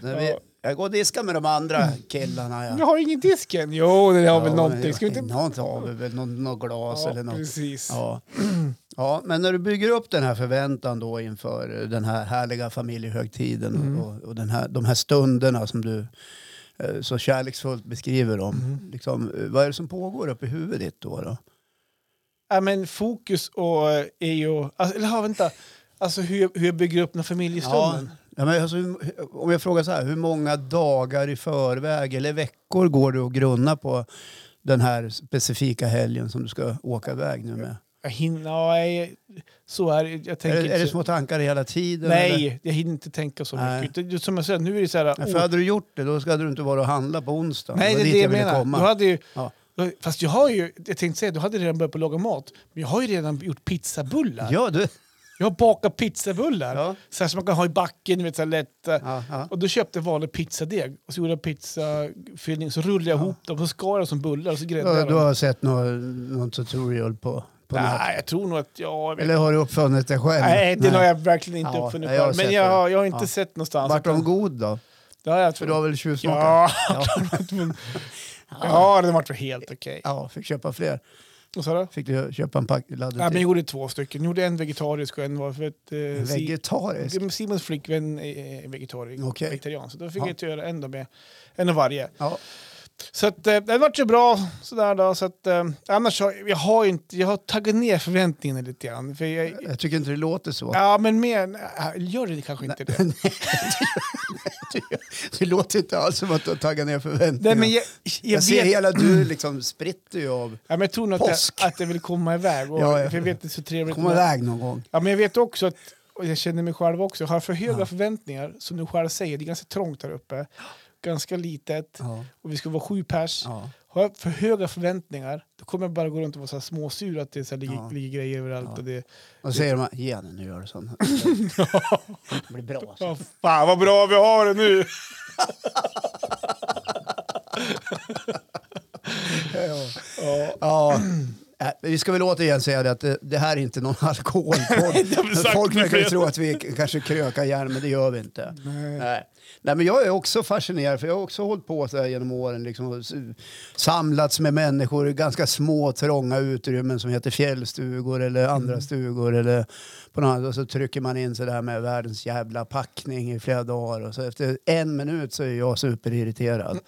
Speaker 1: När vi,
Speaker 2: Ja.
Speaker 1: jag går och diskar med de andra killarna. Ja.
Speaker 2: Du har ingen disk än? Jo, det har väl
Speaker 1: Ja,
Speaker 2: någonting.
Speaker 1: men-
Speaker 2: Ska vi inte...
Speaker 1: Något har vi väl, något, något glas eller
Speaker 2: Ja,
Speaker 1: något.
Speaker 2: precis.
Speaker 1: Ja. ja, men när du bygger upp den här förväntan då inför den här härliga familjehögtiden
Speaker 2: Mm.
Speaker 1: och, och den här, de här stunderna som du eh, så kärleksfullt beskriver dem.
Speaker 2: Mm.
Speaker 1: Liksom, eh, vad är det som pågår uppe i huvudet ditt då? då?
Speaker 2: Ja, men fokus och, eh, är ju... Alltså, eller ja, vänta. Alltså hur jag, hur jag bygger upp den här familjestunden.
Speaker 1: Ja, men alltså, hur- om jag frågar så här, hur många dagar i förväg eller veckor går du och grunnar på den här specifika helgen som du ska åka iväg nu med?
Speaker 2: Jag hinner... Ja, jag, så är det. Jag tänker
Speaker 1: Är, det- är det
Speaker 2: inte-
Speaker 1: små tankar hela tiden?
Speaker 2: Nej,
Speaker 1: eller?
Speaker 2: jag hinner inte tänka så
Speaker 1: Nej.
Speaker 2: mycket. Det- Som jag säger, nu är det så här...
Speaker 1: Ja,
Speaker 2: oh,
Speaker 1: För hade du gjort det, då hade du inte varit och handla på onsdag.
Speaker 2: Nej, det är
Speaker 1: dit
Speaker 2: det jag
Speaker 1: ville
Speaker 2: menar.
Speaker 1: komma.
Speaker 2: Du hade ju,
Speaker 1: Ja.
Speaker 2: Fast jag har ju, jag tänkte säga, du hade redan börjat på att laga mat. Men jag har ju redan gjort pizzabullar.
Speaker 1: Ja, du.
Speaker 2: Jag har bakat pizzabullar.
Speaker 1: Ja.
Speaker 2: Så här som man kan ha i backen, du vet så här lätt.
Speaker 1: Ja, ja.
Speaker 2: Och då köpte jag vanlig pizzadeg och så gjorde jag pizzafyllning. Så rullade jag ihop dem och så skar jag som bullar och så
Speaker 1: Du,
Speaker 2: gräddade
Speaker 1: har-
Speaker 2: jag
Speaker 1: du
Speaker 2: dem.
Speaker 1: har sett någon, någon tutorial på, på nätet.
Speaker 2: Nej, jag tror nog att jag...
Speaker 1: Eller har du uppfunnit det själv?
Speaker 2: Nej, det har jag verkligen inte
Speaker 1: Ja,
Speaker 2: uppfunnit
Speaker 1: jag har
Speaker 2: själv. Men
Speaker 1: sett
Speaker 2: jag
Speaker 1: det.
Speaker 2: har, jag har inte
Speaker 1: Ja.
Speaker 2: sett någonstans.
Speaker 1: Vart de god då?
Speaker 2: Det har jag
Speaker 1: För du har
Speaker 2: tror.
Speaker 1: väl tjuvsmakat?
Speaker 2: Ja,
Speaker 1: Ja.
Speaker 2: ja, den vart väl helt okej.
Speaker 1: Ja, fick köpa fler.
Speaker 2: Vad sa du?
Speaker 1: Fick du köpa en pack laddad
Speaker 2: Nej, men jag
Speaker 1: till?
Speaker 2: gjorde två stycken. Jag gjorde en vegetarisk och en var för att... Eh, Si-
Speaker 1: Vegetarisk?
Speaker 2: Simons flickvän är vegetarian,
Speaker 1: Okej.
Speaker 2: vegetarian så då fick
Speaker 1: Ja.
Speaker 2: jag inte göra en, då med, en av varje.
Speaker 1: Ja.
Speaker 2: Så att, eh, det vart ju bra sådär då. Så att, eh, annars har jag har ju inte, jag har tagit ner förväntningarna lite grann. För jag,
Speaker 1: Jag tycker inte det låter så.
Speaker 2: ja men mer, nej, gör det kanske inte det.
Speaker 1: Det låter inte alls som att du har taggat ner
Speaker 2: Nej,
Speaker 1: förväntningarna.
Speaker 2: men
Speaker 1: jag,
Speaker 2: jag, jag,
Speaker 1: ser
Speaker 2: vet, ja,
Speaker 1: hela du liksom spritter ju av.
Speaker 2: men jag tror nog att
Speaker 1: Påsk.
Speaker 2: jag, att jag vill komma iväg. Och,
Speaker 1: Ja, ja.
Speaker 2: För jag vet att det är så trevligt.
Speaker 1: Kom
Speaker 2: med-
Speaker 1: iväg någon gång.
Speaker 2: Ja, men jag vet också att, och jag känner mig själv också, har jag för höga förväntningar, som du själv säger, det är ganska trångt här uppe, ganska litet,
Speaker 1: Ja.
Speaker 2: och vi ska vara sju pers.
Speaker 1: Ja.
Speaker 2: Har jag för höga förväntningar, då kommer jag bara gå runt och vara så här småsur att det så här ligger,
Speaker 1: Ja.
Speaker 2: ligger grejer överallt. Och det,
Speaker 1: Och så säger de ge henne nu gör du sånt. Det blir bra. alltså.
Speaker 2: ja, fan vad bra vi har det nu! ja.
Speaker 1: Ja. Äh, Vi ska väl återigen säga det att det, det här är inte någon
Speaker 2: Det har vi
Speaker 1: alkoholpodd.
Speaker 2: sagt
Speaker 1: Folk
Speaker 2: nu
Speaker 1: verkar ju
Speaker 2: flera-
Speaker 1: tro att vi k- kanske krökar järn, men det gör vi inte.
Speaker 2: Nej.
Speaker 1: Nej. Nej, men jag är också fascinerad, för jag har också hållit på så här genom åren. Liksom, och s- samlats med människor i ganska små, trånga utrymmen som heter fjällstugor eller andra stugor. Eller på något annat. Och så trycker man in så där med världens jävla packning i flera dagar. Och så efter en minut så är jag superirriterad.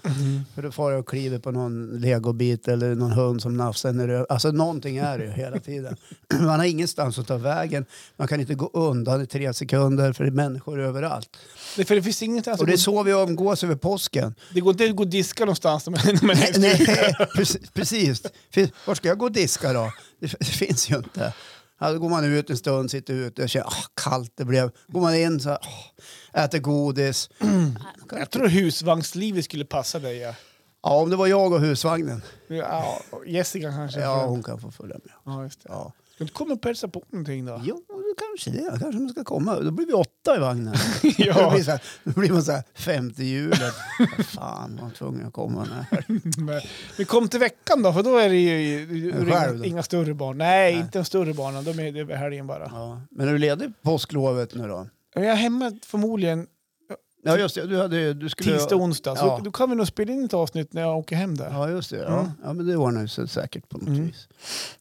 Speaker 1: För då far jag och kliver på någon legobit eller någon hund som nafsar en i röv. Alltså någonting är det ju hela tiden. Man har ingenstans att ta vägen. Man kan inte gå undan i tre sekunder för det är människor överallt.
Speaker 2: Det, för det finns inget alltså,
Speaker 1: Och det är så vi umgås över påsken.
Speaker 2: det går inte att gå och diska någonstans när man, när man är
Speaker 1: Nej, preci- precis. Fin- Var ska jag gå och diska då? Det f- det finns ju inte. Ja, då går man ut en stund, sitter ute och känner ah, kallt det blev. Går man in så här, ah, äter godis.
Speaker 2: Jag tror husvagnslivet skulle passa dig. Ja.
Speaker 1: Ja, om det var jag och husvagnen.
Speaker 2: Ja, och Jessica kanske.
Speaker 1: Ja, hon kan få följa med.
Speaker 2: Ja, just det.
Speaker 1: Ja.
Speaker 2: Ska du inte komma och hälsa på någonting då?
Speaker 1: Jo, kanske det, kanske de ska komma. Då blir vi åtta i vagnen. Då,
Speaker 2: ja,
Speaker 1: blir så här, då blir man så här, femte hjulet. Fan, man var tvungen att komma. När.
Speaker 2: men, men kom till veckan då, för då är det ju det är
Speaker 1: Själv
Speaker 2: inga,
Speaker 1: då?
Speaker 2: inga större barn. Nej,
Speaker 1: Nej.
Speaker 2: inte de större barnen, de är det är helgen bara.
Speaker 1: Ja. Men är du ledig påsklovet nu då?
Speaker 2: Jag är hemma förmodligen
Speaker 1: Ja, just det. Du, hade, du skulle...
Speaker 2: tisdag, onsdag, så
Speaker 1: Ja.
Speaker 2: då kan vi nog spela in ett avsnitt när jag åker hem där.
Speaker 1: Ja, just det. Ja.
Speaker 2: Mm.
Speaker 1: Ja, men det ordnar sig säkert på något
Speaker 2: Mm.
Speaker 1: vis.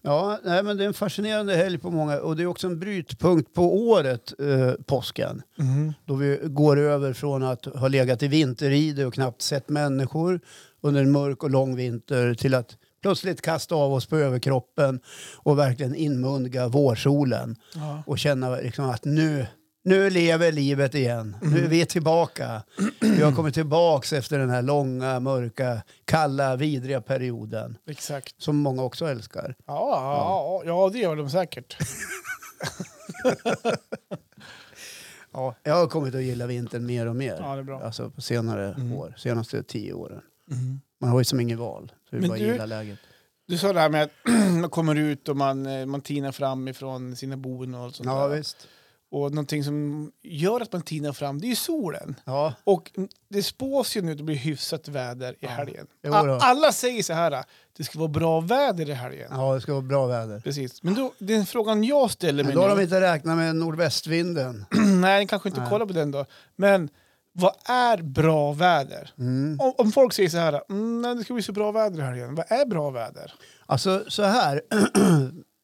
Speaker 1: Ja, nej, men det är en fascinerande helg på många och det är också en brytpunkt på året, eh, påsken.
Speaker 2: Mhm.
Speaker 1: Då vi går över från att ha legat i vinteride och knappt sett människor under en mörk och lång vinter till att plötsligt kasta av oss på överkroppen och verkligen inmundiga vårsolen
Speaker 2: Ja.
Speaker 1: och känna liksom att nu, nu lever livet igen.
Speaker 2: Mm.
Speaker 1: Nu är vi tillbaka. Vi har kommit tillbaka efter den här långa, mörka, kalla, vidriga perioden
Speaker 2: Exakt.
Speaker 1: som många också älskar.
Speaker 2: Ja, ja. ja, det gör de säkert.
Speaker 1: Ja. Jag har kommit att gilla vintern mer och mer.
Speaker 2: Ja, det är bra.
Speaker 1: Alltså på senare
Speaker 2: Mm.
Speaker 1: år, senaste tio åren. Man har ju som ingen val. Så det
Speaker 2: Men
Speaker 1: är bara att
Speaker 2: du-
Speaker 1: gilla läget.
Speaker 2: Du sa det här med att man kommer ut och man, eh, man tinar fram ifrån sina bon och allt sånt
Speaker 1: Ja,
Speaker 2: där.
Speaker 1: visst.
Speaker 2: Och någonting som gör att man tinar fram, det är ju solen.
Speaker 1: Ja,
Speaker 2: Och det spås ju nu att det blir hyfsat väder i
Speaker 1: Ja.
Speaker 2: helgen.
Speaker 1: Jo då.
Speaker 2: A- Alla säger så här, det ska vara bra väder i helgen.
Speaker 1: ja, det ska vara bra väder.
Speaker 2: Precis. Men då, den frågan jag ställer mig
Speaker 1: Men då har de
Speaker 2: nu,
Speaker 1: inte räknat med nordvästvinden.
Speaker 2: nej, ni kanske inte
Speaker 1: Nej.
Speaker 2: kollar på den då, men vad är bra väder?
Speaker 1: Mm.
Speaker 2: Om, om folk säger så här, mm, nej, det ska bli så bra väder i helgen, vad är bra väder?
Speaker 1: Alltså så här,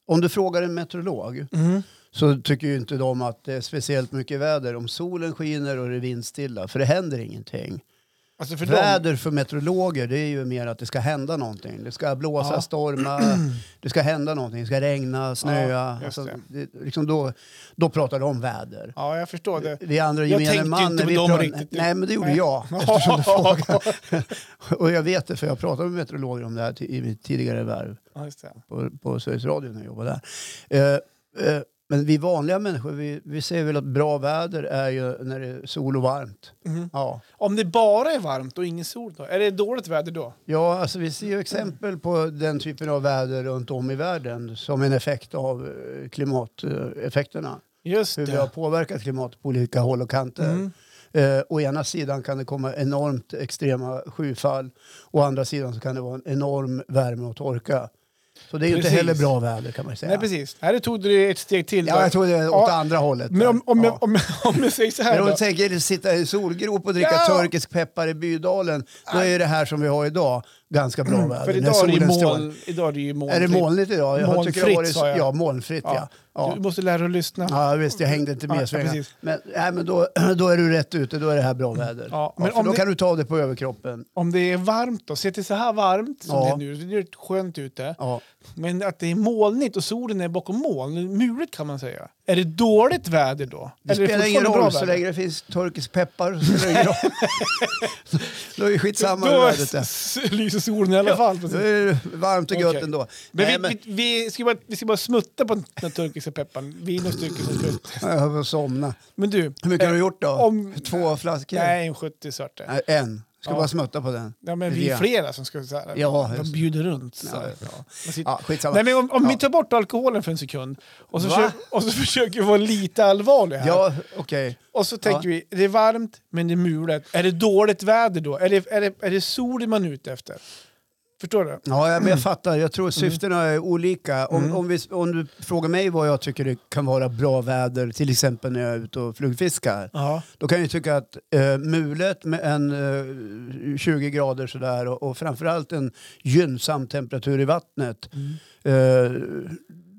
Speaker 1: om du frågar en meteorolog
Speaker 2: Mm.
Speaker 1: så tycker ju inte de att det är speciellt mycket väder om solen skiner och det är vindstilla, för det händer ingenting.
Speaker 2: Alltså för dem,
Speaker 1: väder för meteorologer det är ju mer att det ska hända någonting. Det ska blåsa,
Speaker 2: Ja.
Speaker 1: storma, det ska hända någonting. Det ska regna, snöa.
Speaker 2: Ja, just
Speaker 1: alltså,
Speaker 2: det.
Speaker 1: det, liksom då, då pratar de om väder.
Speaker 2: ja jag förstår det.
Speaker 1: Vi andra
Speaker 2: Jag
Speaker 1: gemene
Speaker 2: tänkte ju
Speaker 1: man...
Speaker 2: inte
Speaker 1: när
Speaker 2: på
Speaker 1: vi
Speaker 2: dem
Speaker 1: pratar-
Speaker 2: riktigt.
Speaker 1: Nej, men det gjorde
Speaker 2: Nej.
Speaker 1: jag. Eftersom du frågar. och jag vet det, för jag pratade med meteorologer om det här ti- i mitt tidigare värv
Speaker 2: Ja, just det.
Speaker 1: på, på Sveriges Radio när jag jobbade där. Eh, eh, men vi vanliga människor, vi, vi ser väl att bra väder är ju när det är sol och varmt.
Speaker 2: Mhm.
Speaker 1: Ja.
Speaker 2: Om det bara är varmt och ingen sol då? Är det dåligt väder då?
Speaker 1: ja, alltså vi ser ju exempel på den typen av väder runt om i världen som en effekt av eh, klimateffekterna.
Speaker 2: Just
Speaker 1: Hur vi har påverkat klimatet på olika håll och kanter.
Speaker 2: Mm.
Speaker 1: Eh, å ena sidan kan det komma enormt extrema skyfall. Å andra sidan så kan det vara en enorm värme och torka. Så det är ju inte
Speaker 2: Precis.
Speaker 1: heller bra väder kan man ju säga.
Speaker 2: Nej, precis. Här tog du ett steg till. då.
Speaker 1: Ja, jag tror det är åt
Speaker 2: Ja,
Speaker 1: andra hållet.
Speaker 2: Men om, om,
Speaker 1: ja.
Speaker 2: jag, om, jag- om jag säger så här
Speaker 1: Men om
Speaker 2: då.
Speaker 1: du tänker sitta i solgrop och dricka
Speaker 2: Ja.
Speaker 1: turkisk peppar i Bydalen, då är det här som vi har idag ganska bra väder.
Speaker 2: Mm.
Speaker 1: när
Speaker 2: För idag är, det ju
Speaker 1: solen
Speaker 2: moln,
Speaker 1: strålar.
Speaker 2: idag är det ju moln.
Speaker 1: Är det molnigt idag? Jag tycker det har
Speaker 2: Molnfritt, sa jag.
Speaker 1: varit, ja, molnfritt ja.
Speaker 2: Ja.
Speaker 1: ja.
Speaker 2: Du måste lära dig att lyssna. Ja.
Speaker 1: Ja, visst, jag hängde inte
Speaker 2: Ja,
Speaker 1: med svängarna.
Speaker 2: precis. Mm.
Speaker 1: Men, nej, men då, då är du rätt ute, då är det här bra väder.
Speaker 2: Ja,
Speaker 1: Ja,
Speaker 2: men
Speaker 1: för
Speaker 2: om
Speaker 1: då
Speaker 2: det-
Speaker 1: kan du ta det på överkroppen.
Speaker 2: Om det är varmt då, se till så här varmt som
Speaker 1: Ja.
Speaker 2: det är nu, det är rätt skönt ute.
Speaker 1: Ja.
Speaker 2: Men att det är molnigt och solen är bakom moln, mulet kan man säga. Är det dåligt väder då?
Speaker 1: Det
Speaker 2: Eller är
Speaker 1: spelar ingen
Speaker 2: fortfarande
Speaker 1: roll,
Speaker 2: bra
Speaker 1: så
Speaker 2: väder?
Speaker 1: länge det finns turkisk peppar så spelar det ingen roll. då är det skitsamma hur
Speaker 2: Då
Speaker 1: vädret är.
Speaker 2: s- lyser solen i alla fall.
Speaker 1: Då
Speaker 2: precis.
Speaker 1: är det varmt och gött
Speaker 2: Okej.
Speaker 1: ändå.
Speaker 2: Men,
Speaker 1: Nej,
Speaker 2: vi, Vi, vi, ska bara, vi ska bara smutta på den turkiska pepparn. Vi är några stycken som ska ut.
Speaker 1: Jag höll på att somna.
Speaker 2: Men du,
Speaker 1: Hur mycket har du gjort då?
Speaker 2: Eh, om-
Speaker 1: Två flaskor?
Speaker 2: nej, en 70 svarte.
Speaker 1: Nej, en. Ska
Speaker 2: Ja.
Speaker 1: bara smutta på den.
Speaker 2: Ja, men
Speaker 1: Lite
Speaker 2: vi är
Speaker 1: grann.
Speaker 2: flera som ska så här,
Speaker 1: Ja,
Speaker 2: de
Speaker 1: just-
Speaker 2: bjuder runt. Så
Speaker 1: Ja,
Speaker 2: här.
Speaker 1: ja.
Speaker 2: Man sitter-
Speaker 1: Ja, skitsamma.
Speaker 2: Nej, men om, om
Speaker 1: Ja.
Speaker 2: vi tar bort alkoholen för en sekund och så,
Speaker 1: Va?
Speaker 2: försöker, och så försöker vi vara lite allvarliga här.
Speaker 1: Ja, okej.
Speaker 2: Och så tänker vi, det är varmt men det är mulet. Är det dåligt väder då? Är det, är det, är det solen man är ute efter? Förstår du?
Speaker 1: Ja, jag, men jag fattar. Jag
Speaker 2: Mm.
Speaker 1: tror syftena är olika. Om, om, vi, om du frågar mig vad jag tycker det kan vara bra väder, till exempel när jag är ute och flugfiskar,
Speaker 2: Ja.
Speaker 1: då kan jag tycka att eh, mulet med en eh, 20 grader sådär och, och framförallt en gynnsam temperatur i vattnet, eh,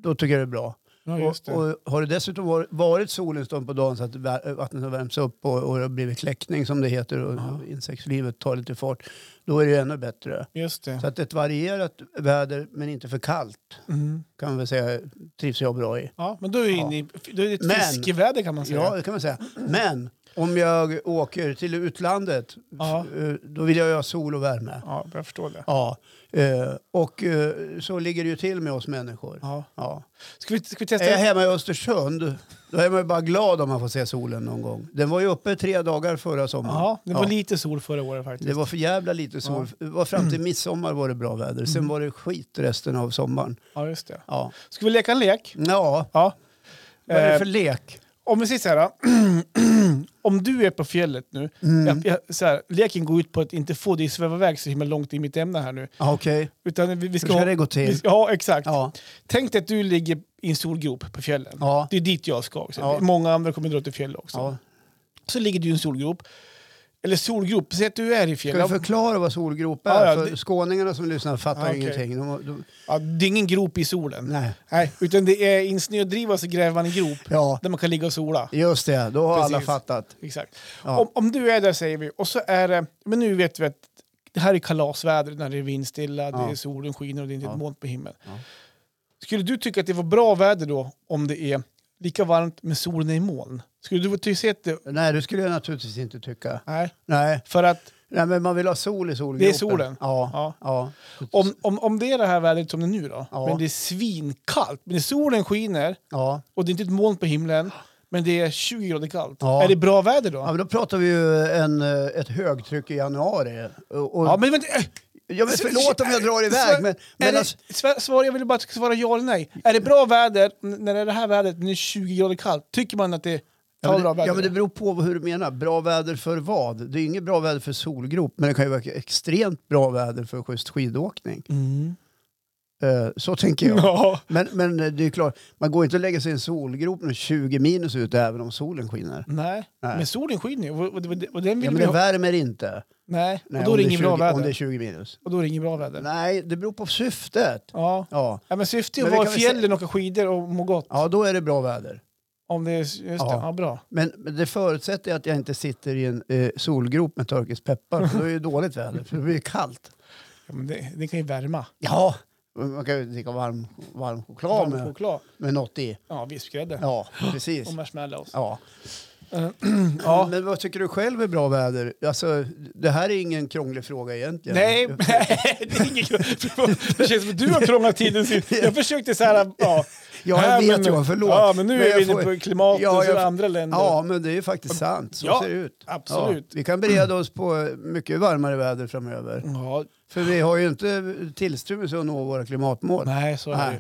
Speaker 1: då tycker jag det är bra.
Speaker 2: Mm. Ja, just
Speaker 1: Och,
Speaker 2: det.
Speaker 1: och har det dessutom var- varit sol en stund på dagen så att vä- vattnet har värmts upp och, och det har blivit kläckning som det heter och och insektslivet tar lite fart, då är det ju ännu bättre.
Speaker 2: just det.
Speaker 1: Så att ett varierat väder men inte för kallt
Speaker 2: Mm.
Speaker 1: kan man väl säga trivs jag bra i.
Speaker 2: Ja, men då är, vi inne i, då är det ett
Speaker 1: Men-
Speaker 2: fiskeväder kan man säga.
Speaker 1: Ja, det kan man säga. Men om jag åker till utlandet
Speaker 2: Ja.
Speaker 1: f- eh, då vill jag ju ha sol och värme.
Speaker 2: Ja, jag förstår det.
Speaker 1: Ja. eh, Och eh, så ligger det ju till med oss människor.
Speaker 2: Ja.
Speaker 1: Ja.
Speaker 2: Ska, vi, ska vi
Speaker 1: Är jag
Speaker 2: testa?
Speaker 1: hemma i Östersund, då är man ju bara glad om man får se solen någon gång. Den var ju uppe tre dagar förra sommaren.
Speaker 2: Ja, det var
Speaker 1: Ja.
Speaker 2: lite sol förra året faktiskt.
Speaker 1: det var för jävla lite sol. Det var fram till midsommar var det bra väder.
Speaker 2: Mm.
Speaker 1: Sen var det skit resten av sommaren.
Speaker 2: Ja, just det.
Speaker 1: Ja,
Speaker 2: Ska vi leka en lek?
Speaker 1: ja
Speaker 2: Ja.
Speaker 1: Mm. Vad är det
Speaker 2: Eh,
Speaker 1: för lek?
Speaker 2: Om vi säger så här, om du är på fjället nu,
Speaker 1: Mm.
Speaker 2: jag, jag, så här, leken går ut på att inte få dig att sväva iväg så himla långt i mitt ämne här nu.
Speaker 1: Ja, Okej,
Speaker 2: Utan vi, vi ska,
Speaker 1: hur ska
Speaker 2: ha-
Speaker 1: det gå
Speaker 2: vi
Speaker 1: till?
Speaker 2: ska, ja, exakt.
Speaker 1: Ja,
Speaker 2: Tänk dig att du ligger i en stor grop på fjällen.
Speaker 1: ja,
Speaker 2: Det är dit jag ska också.
Speaker 1: Ja.
Speaker 2: Många andra kommer dra till fjällen också.
Speaker 1: ja.
Speaker 2: Så ligger du i en solgrop. Eller solgrop, säg att du är i
Speaker 1: Ska vi
Speaker 2: fjällen.
Speaker 1: förklara vad solgrop är?
Speaker 2: Ja, ja,
Speaker 1: För
Speaker 2: det-
Speaker 1: skåningarna som lyssnar fattar
Speaker 2: Ja, okej.
Speaker 1: ingenting. De, de,
Speaker 2: Ja, det är ingen grop i solen. Nej.
Speaker 1: nej.
Speaker 2: utan det är i en snödriva så gräver man en grop
Speaker 1: Ja,
Speaker 2: där man kan ligga och sola.
Speaker 1: just det. Då har alla
Speaker 2: Precis.
Speaker 1: fattat.
Speaker 2: Exakt.
Speaker 1: Ja.
Speaker 2: Om, om du är där säger vi, och så är det, men nu vet vi att det här är kalasväder när det är vindstilla, det
Speaker 1: Ja.
Speaker 2: är solen skiner och det är inte ett
Speaker 1: Ja.
Speaker 2: moln på himlen.
Speaker 1: Ja.
Speaker 2: Skulle du tycka att det var bra väder då om det är lika varmt men solen är i moln? Skulle du ty- se att det...
Speaker 1: Nej, det skulle jag naturligtvis inte tycka.
Speaker 2: Nej,
Speaker 1: Nej,
Speaker 2: för att
Speaker 1: nej men man vill ha sol i solgropen.
Speaker 2: det är solen.
Speaker 1: Ja.
Speaker 2: Ja.
Speaker 1: ja.
Speaker 2: Om, om, om det är det här vädret som det är nu då,
Speaker 1: Ja.
Speaker 2: men det är svinkallt, men solen skiner
Speaker 1: ja.
Speaker 2: och det är inte ett moln på himlen, men det är 20 grader kallt.
Speaker 1: Ja.
Speaker 2: Är det bra väder då?
Speaker 1: Ja,
Speaker 2: Ja,
Speaker 1: men då pratar vi ju en, eh, ett högtryck i januari. Och, och, ja, men,
Speaker 2: men vänta! äh,
Speaker 1: förlåt om jag drar
Speaker 2: Så-
Speaker 1: iväg, men,
Speaker 2: är
Speaker 1: men
Speaker 2: det-
Speaker 1: alltså,
Speaker 2: sva- svar, jag vill bara att du ska svara ja eller nej. Är det bra väder n- när det är det här vädret, men det är 20 grader kallt? Tycker man att det är
Speaker 1: ja,
Speaker 2: bra
Speaker 1: men, det-
Speaker 2: väder?
Speaker 1: ja, men det beror på hur du menar. Bra väder för vad? Det är inget bra väder för solgrop, men det kan ju vara extremt bra väder för schysst skidåkning.
Speaker 2: mm.
Speaker 1: Eh, Så tänker jag.
Speaker 2: ja.
Speaker 1: Men, men eh, det är ju klart, man går inte att lägga sig i en solgrop när det är 20 minus ute även om solen skiner.
Speaker 2: Nej.
Speaker 1: Nej.
Speaker 2: men solen skiner ju. Och, och, och, och den vill
Speaker 1: Ja, men
Speaker 2: vi
Speaker 1: det
Speaker 2: ha.
Speaker 1: värmer inte.
Speaker 2: Nej,
Speaker 1: Nej,
Speaker 2: och då
Speaker 1: om
Speaker 2: är det
Speaker 1: är
Speaker 2: inget bra
Speaker 1: 20 Om
Speaker 2: väder.
Speaker 1: det är 20 minus.
Speaker 2: Och då är det inget bra väder.
Speaker 1: Nej, det beror på syftet.
Speaker 2: Ja.
Speaker 1: Ja,
Speaker 2: Ja, men syftet är att
Speaker 1: Men vi
Speaker 2: vara i
Speaker 1: kan väl säga-
Speaker 2: fjällen och åka skidor och må gott.
Speaker 1: ja då är det bra väder.
Speaker 2: Om det är, just det,
Speaker 1: Ja.
Speaker 2: ja, bra.
Speaker 1: Men men det förutsätter att jag inte sitter i en eh, solgrop med turkisk peppar. För då är det ju dåligt väder, för det blir ju kallt.
Speaker 2: Ja, men det, det kan ju värma.
Speaker 1: Ja, man kan ju dricka varm, varm
Speaker 2: Ja,
Speaker 1: choklad med,
Speaker 2: choklad.
Speaker 1: med något i.
Speaker 2: Ja, vispgrädde.
Speaker 1: Ja, precis.
Speaker 2: Och marshmallows.
Speaker 1: Ja.
Speaker 2: Eh, Ja.
Speaker 1: Men vad tycker du själv är bra väder? Alltså, det här är ingen krånglig fråga egentligen.
Speaker 2: Nej, det är inget kul. Det känns som att du har krånglat till det. Jag försökte så här, ja.
Speaker 1: Ja, jag
Speaker 2: Nej,
Speaker 1: vet
Speaker 2: men-
Speaker 1: jag, förlåt.
Speaker 2: Ja, men nu
Speaker 1: Men
Speaker 2: är vi
Speaker 1: jag får-
Speaker 2: inne på klimat
Speaker 1: Ja,
Speaker 2: och så
Speaker 1: jag-
Speaker 2: andra länder.
Speaker 1: Ja, men det är ju faktiskt sant. Så
Speaker 2: Ja,
Speaker 1: ser det ut.
Speaker 2: absolut.
Speaker 1: Ja, vi kan bereda oss på mycket varmare väder framöver.
Speaker 2: Ja,
Speaker 1: För vi har ju inte tillstymmelse att nå våra klimatmål.
Speaker 2: nej, så är det ju.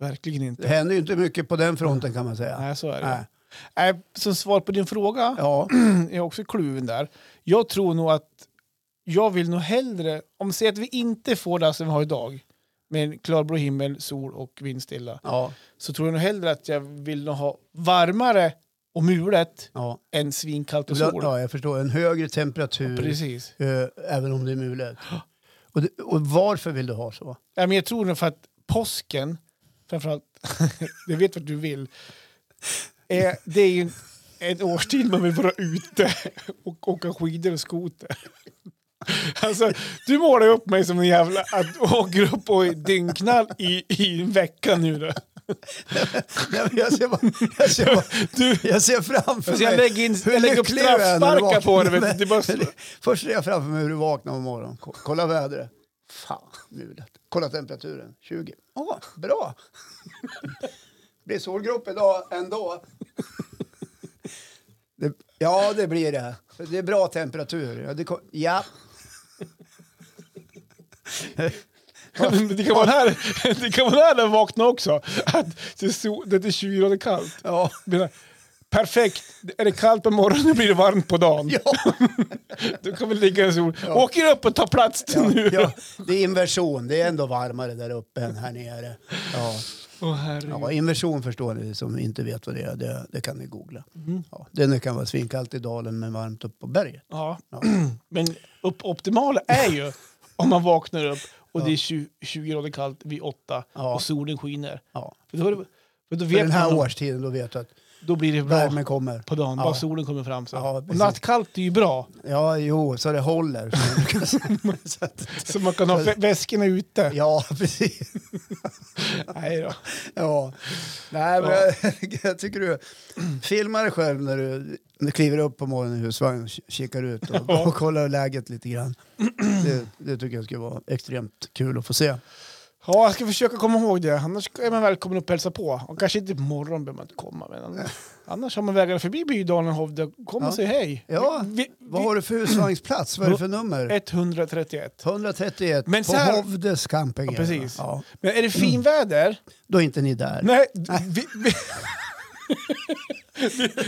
Speaker 1: Nej.
Speaker 2: Verkligen
Speaker 1: Det
Speaker 2: inte.
Speaker 1: händer ju inte mycket på den fronten kan man säga.
Speaker 2: Nej, så är det.
Speaker 1: Nej.
Speaker 2: Nej, som svar på din fråga
Speaker 1: Ja,
Speaker 2: är jag också kluven där. Jag tror nog att jag vill nog hellre, om säg att vi inte får det här som vi har idag, med en klarblå himmel, sol och vindstilla,
Speaker 1: ja,
Speaker 2: så tror jag nog hellre att jag vill nog ha varmare och mulet
Speaker 1: ja.
Speaker 2: än svinkallt och sol.
Speaker 1: ja, jag förstår. En högre temperatur,
Speaker 2: Precis.
Speaker 1: eh, även om det är mulet. Och, det, och varför vill du ha så?
Speaker 2: Ja, men jag tror nog för att påsken, framförallt, jag vet vad du vill, är, det är ju en, en årstid man vill vara ute och åka skidor och skoter. Alltså, du målar ju upp mig som en jävla... Att du åker upp och dynknar i, i en vecka nu då.
Speaker 1: Nej, men jag, ser bara, jag, ser bara,
Speaker 2: Du,
Speaker 1: jag ser framför
Speaker 2: alltså jag
Speaker 1: mig
Speaker 2: lägger, in,
Speaker 1: hur
Speaker 2: jag lägger upp
Speaker 1: lycklig du är när du
Speaker 2: straffsparkar på
Speaker 1: vaknar.
Speaker 2: dig. Vet du. Det är bara, så-
Speaker 1: Först ser jag framför mig hur du vaknar på morgonen. Ko- Kolla vädret. Fan, mulet. Kolla temperaturen. 20. Ja, bra. blir solgrop idag ändå. Det, ja, det blir det. För Det är bra temperatur. Ja. Det, ko- ja.
Speaker 2: det kan vara här, det kan vara här när jag vaknar också. Att det är sol- det är 20 grader kallt.
Speaker 1: ja.
Speaker 2: Menar, perfekt, är det kallt på morgonen blir det varmt på dagen.
Speaker 1: Ja,
Speaker 2: Du kan väl ligga i sol. Åker upp och tar plats till nu.
Speaker 1: ja, det är inversion. Det är ändå varmare där uppe än här nere. Ja.
Speaker 2: Åh, herregud.
Speaker 1: Ja, inversion förstår ni som inte vet vad det är. Det, det kan ni googla.
Speaker 2: Mm.
Speaker 1: Ja, det kan vara svinkallt i dalen men varmt upp på berget.
Speaker 2: Ja.
Speaker 1: Ja.
Speaker 2: Men upp, optimala är ju om man vaknar upp och det är 20, 20 grader kallt vid åtta
Speaker 1: Ja.
Speaker 2: och solen skiner.
Speaker 1: Ja.
Speaker 2: För då, är det- för då
Speaker 1: För
Speaker 2: vet
Speaker 1: den här
Speaker 2: man,
Speaker 1: årstiden då vet du att
Speaker 2: då blir det bra
Speaker 1: värmen kommer.
Speaker 2: på dagen,
Speaker 1: Ja.
Speaker 2: bara solen kommer fram. Så.
Speaker 1: Ja,
Speaker 2: och
Speaker 1: precis.
Speaker 2: nattkallt är ju bra,
Speaker 1: Ja, jo, så det håller. så att,
Speaker 2: så man kan ha vä- väskorna ute.
Speaker 1: ja, precis.
Speaker 2: Nej då.
Speaker 1: Ja. Nej, men
Speaker 2: Ja.
Speaker 1: Jag, jag tycker du filmar dig själv när du, när du kliver upp på morgonen i husvagnen och k- kikar ut och,
Speaker 2: Ja.
Speaker 1: och kollar läget lite grann. Det, det tycker jag skulle vara extremt kul att få se.
Speaker 2: Ja, jag ska försöka komma ihåg det. Annars är man välkommen upp och hälsa på. Och kanske inte på morgonen behöver man inte komma. Men annars, annars har man vägarna förbi Bydalen och Hovde. Kom och
Speaker 1: Ja.
Speaker 2: säg hej.
Speaker 1: Ja,
Speaker 2: Vi,
Speaker 1: Vad har du för husvagnsplats? Vad är det för nummer?
Speaker 2: vi, 131.
Speaker 1: 131
Speaker 2: Men
Speaker 1: på
Speaker 2: så här-
Speaker 1: Hovdes camping.
Speaker 2: Ja, precis.
Speaker 1: Ja,
Speaker 2: Men är det finväder?
Speaker 1: Mm. då är inte ni där.
Speaker 2: Nej. Vi, vi,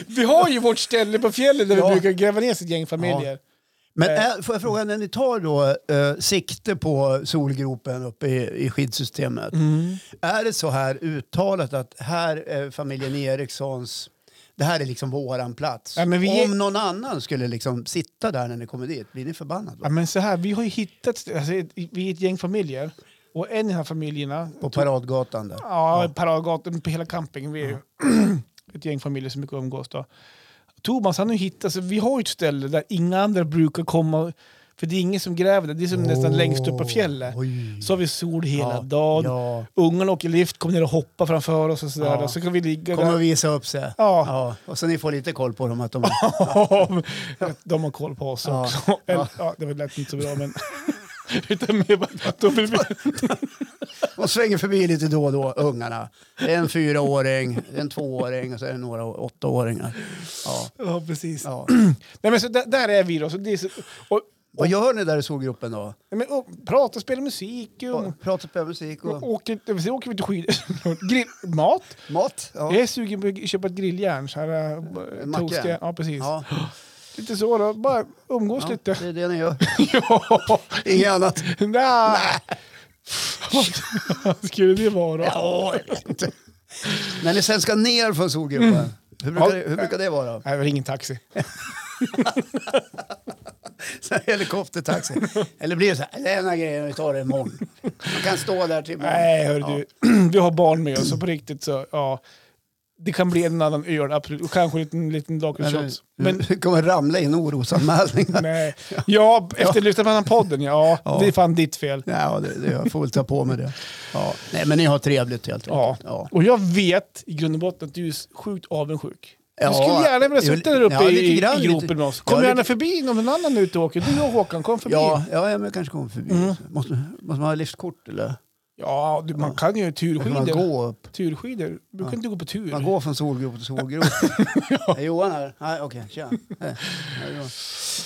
Speaker 2: Vi har ju vårt ställe på fjället där
Speaker 1: Ja.
Speaker 2: vi brukar gräva ner sitt gäng familjer.
Speaker 1: Men äh, får jag fråga, när ni tar då eh, sikte på solgropen uppe i, i skidsystemet.
Speaker 2: Mm.
Speaker 1: Är det så här uttalat att här är familjen Erikssons, det här är liksom våran plats.
Speaker 2: Ja, men vi-
Speaker 1: Om någon annan skulle liksom sitta där när ni kommer dit, blir ni förbannade då?
Speaker 2: Ja, men så här, vi har ju hittat, st- alltså, ett- vi är ett gäng familjer och en i de här familjerna,
Speaker 1: På Paradgatan där.
Speaker 2: ja, Paradgatan, på hela campingen, vi är ju ett gäng familjer som brukar umgås då. Thomas han har ju hittat, så vi har ju ett ställe där inga andra brukar komma, för det är ingen som gräver där, det är som nästan längst upp på fjället.
Speaker 1: Oj.
Speaker 2: Så har vi sol hela
Speaker 1: Ja,
Speaker 2: dagen,
Speaker 1: ja.
Speaker 2: ungarna åker lift, kommer ner och hoppar framför oss och sådär.
Speaker 1: Ja.
Speaker 2: Och så kan vi ligga
Speaker 1: Kommer
Speaker 2: där.
Speaker 1: att visa upp sig.
Speaker 2: Ja,
Speaker 1: Ja. Och så ni får lite koll på dem att de...
Speaker 2: de har koll på oss
Speaker 1: Ja.
Speaker 2: också. Eller, ja, det lät inte så bra men... Utan mer bara, då vill vi...
Speaker 1: De svänger förbi lite då och då, ungarna. Det är en fyraåring, en tvååring och så är det några åttaåringar. Ja.
Speaker 2: Ja, precis.
Speaker 1: Ja.
Speaker 2: Nej, men så där, där är vi då. Så det är så, och,
Speaker 1: Vad gör ni där i solgruppen då?
Speaker 2: nej, men, och, pratar, spelar musik, och,
Speaker 1: Pratar på musik och
Speaker 2: åker, så åker vi till skidor. Grill, mat.
Speaker 1: mat?
Speaker 2: Jag
Speaker 1: Ja.
Speaker 2: är sugen på att köpa ett grilljärn. Så här,
Speaker 1: En
Speaker 2: äh,
Speaker 1: macka.
Speaker 2: toastiga. Ja, precis.
Speaker 1: Ja.
Speaker 2: Lite så då. Bara umgås
Speaker 1: ja,
Speaker 2: lite.
Speaker 1: det är det ni gör.
Speaker 2: ja.
Speaker 1: Inget annat.
Speaker 2: Nej. Vad skulle det vara?
Speaker 1: Ja, jag vet inte. När ni sen ska ner från solgruppen, hur, brukar
Speaker 2: Ja.
Speaker 1: det, hur brukar det vara?
Speaker 2: Nej, väl ingen taxi.
Speaker 1: Så här Helikoptertaxi? Eller blir det så här, det är den här grejen, vi tar det imorgon. Man kan stå där till imorgon.
Speaker 2: Nej, hör
Speaker 1: Ja.
Speaker 2: du. Vi har barn med oss, så på riktigt så, ja. Det kan bli en annan öl, absolut. Och kanske en liten, liten
Speaker 1: Men,
Speaker 2: lakritsshot.
Speaker 1: men,
Speaker 2: Men
Speaker 1: det kommer ramla in orosanmälningar.
Speaker 2: nej. Ja, efter lyssna på den här podden, ja.
Speaker 1: Ja.
Speaker 2: Det är fan ditt fel.
Speaker 1: Ja, det, det, jag får väl ta på mig det. Ja. Nej, men ni har trevligt helt
Speaker 2: Ja.
Speaker 1: enkelt. Ja.
Speaker 2: Och jag vet i grund och botten att du är sjukt avundsjuk.
Speaker 1: Ja,
Speaker 2: Du skulle gärna vilja sitta där uppe
Speaker 1: ja, lite
Speaker 2: i,
Speaker 1: grann,
Speaker 2: i
Speaker 1: lite-
Speaker 2: gropen med oss. Kom
Speaker 1: ja,
Speaker 2: gärna
Speaker 1: lite-
Speaker 2: förbi när någon annan är ute och åker. Du och Håkan, kom förbi.
Speaker 1: Ja, ja, ja, men jag kanske kommer förbi.
Speaker 2: Mm.
Speaker 1: Måste, måste man ha liftkort eller?
Speaker 2: Ja, du, man kan ju
Speaker 1: Kan man
Speaker 2: turskidor.
Speaker 1: gå upp?
Speaker 2: Turskidor. Du kan inte gå på tur.
Speaker 1: Man går från solgrop till solgrop. Är Johan här? Nej, okej. Tja. Hej. Hej, Johan.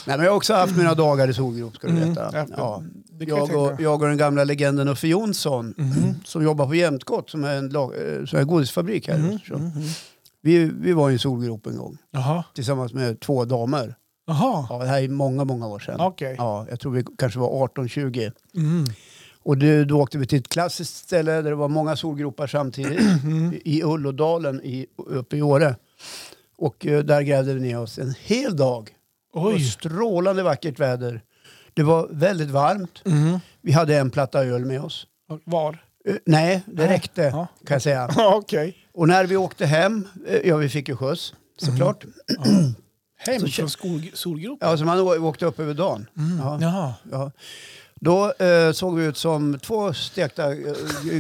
Speaker 1: Nej, men jag har också haft mina dagar i solgrop, ska du
Speaker 2: Mm.
Speaker 1: veta.
Speaker 2: Ja,
Speaker 1: Ja.
Speaker 2: det kan jag
Speaker 1: Jag, och,
Speaker 2: tänka. Mm.
Speaker 1: jag och den gamla legenden Uffe Jonsson mm, som jobbar på Jämtgott som är en lag, eh, sån här godisfabrik här. i
Speaker 2: Mm.
Speaker 1: Östersund. Vi, vi var i en solgrop en gång
Speaker 2: Mm-hmm, Jaha.
Speaker 1: tillsammans med två damer.
Speaker 2: Jaha.
Speaker 1: Ja, det här är många, många år sedan.
Speaker 2: Okej.
Speaker 1: Ja, jag tror vi kanske var 18-20.
Speaker 2: Mm.
Speaker 1: Och det, då åkte vi till ett klassiskt ställe där det var många solgropar samtidigt.
Speaker 2: Mm.
Speaker 1: i- I Ullådalen i, uppe i Åre. Och eh, där grävde vi ner oss en hel dag. Det var
Speaker 2: Oj.
Speaker 1: strålande vackert väder. Det var väldigt varmt.
Speaker 2: Mm.
Speaker 1: Vi hade en platta öl med oss.
Speaker 2: Var?
Speaker 1: Eh, nej, det
Speaker 2: Nej.
Speaker 1: räckte
Speaker 2: Ja.
Speaker 1: kan jag säga.
Speaker 2: Ja, Okej.
Speaker 1: Och när vi åkte hem, eh, ja vi fick ju skjuts såklart.
Speaker 2: Mm. Hem
Speaker 1: Så kö-
Speaker 2: från skol- solgropen?
Speaker 1: Ja, så man å- åkte upp över dagen.
Speaker 2: Mm.
Speaker 1: Ja.
Speaker 2: Jaha.
Speaker 1: Ja. Då eh, såg vi ut som två stekta eh,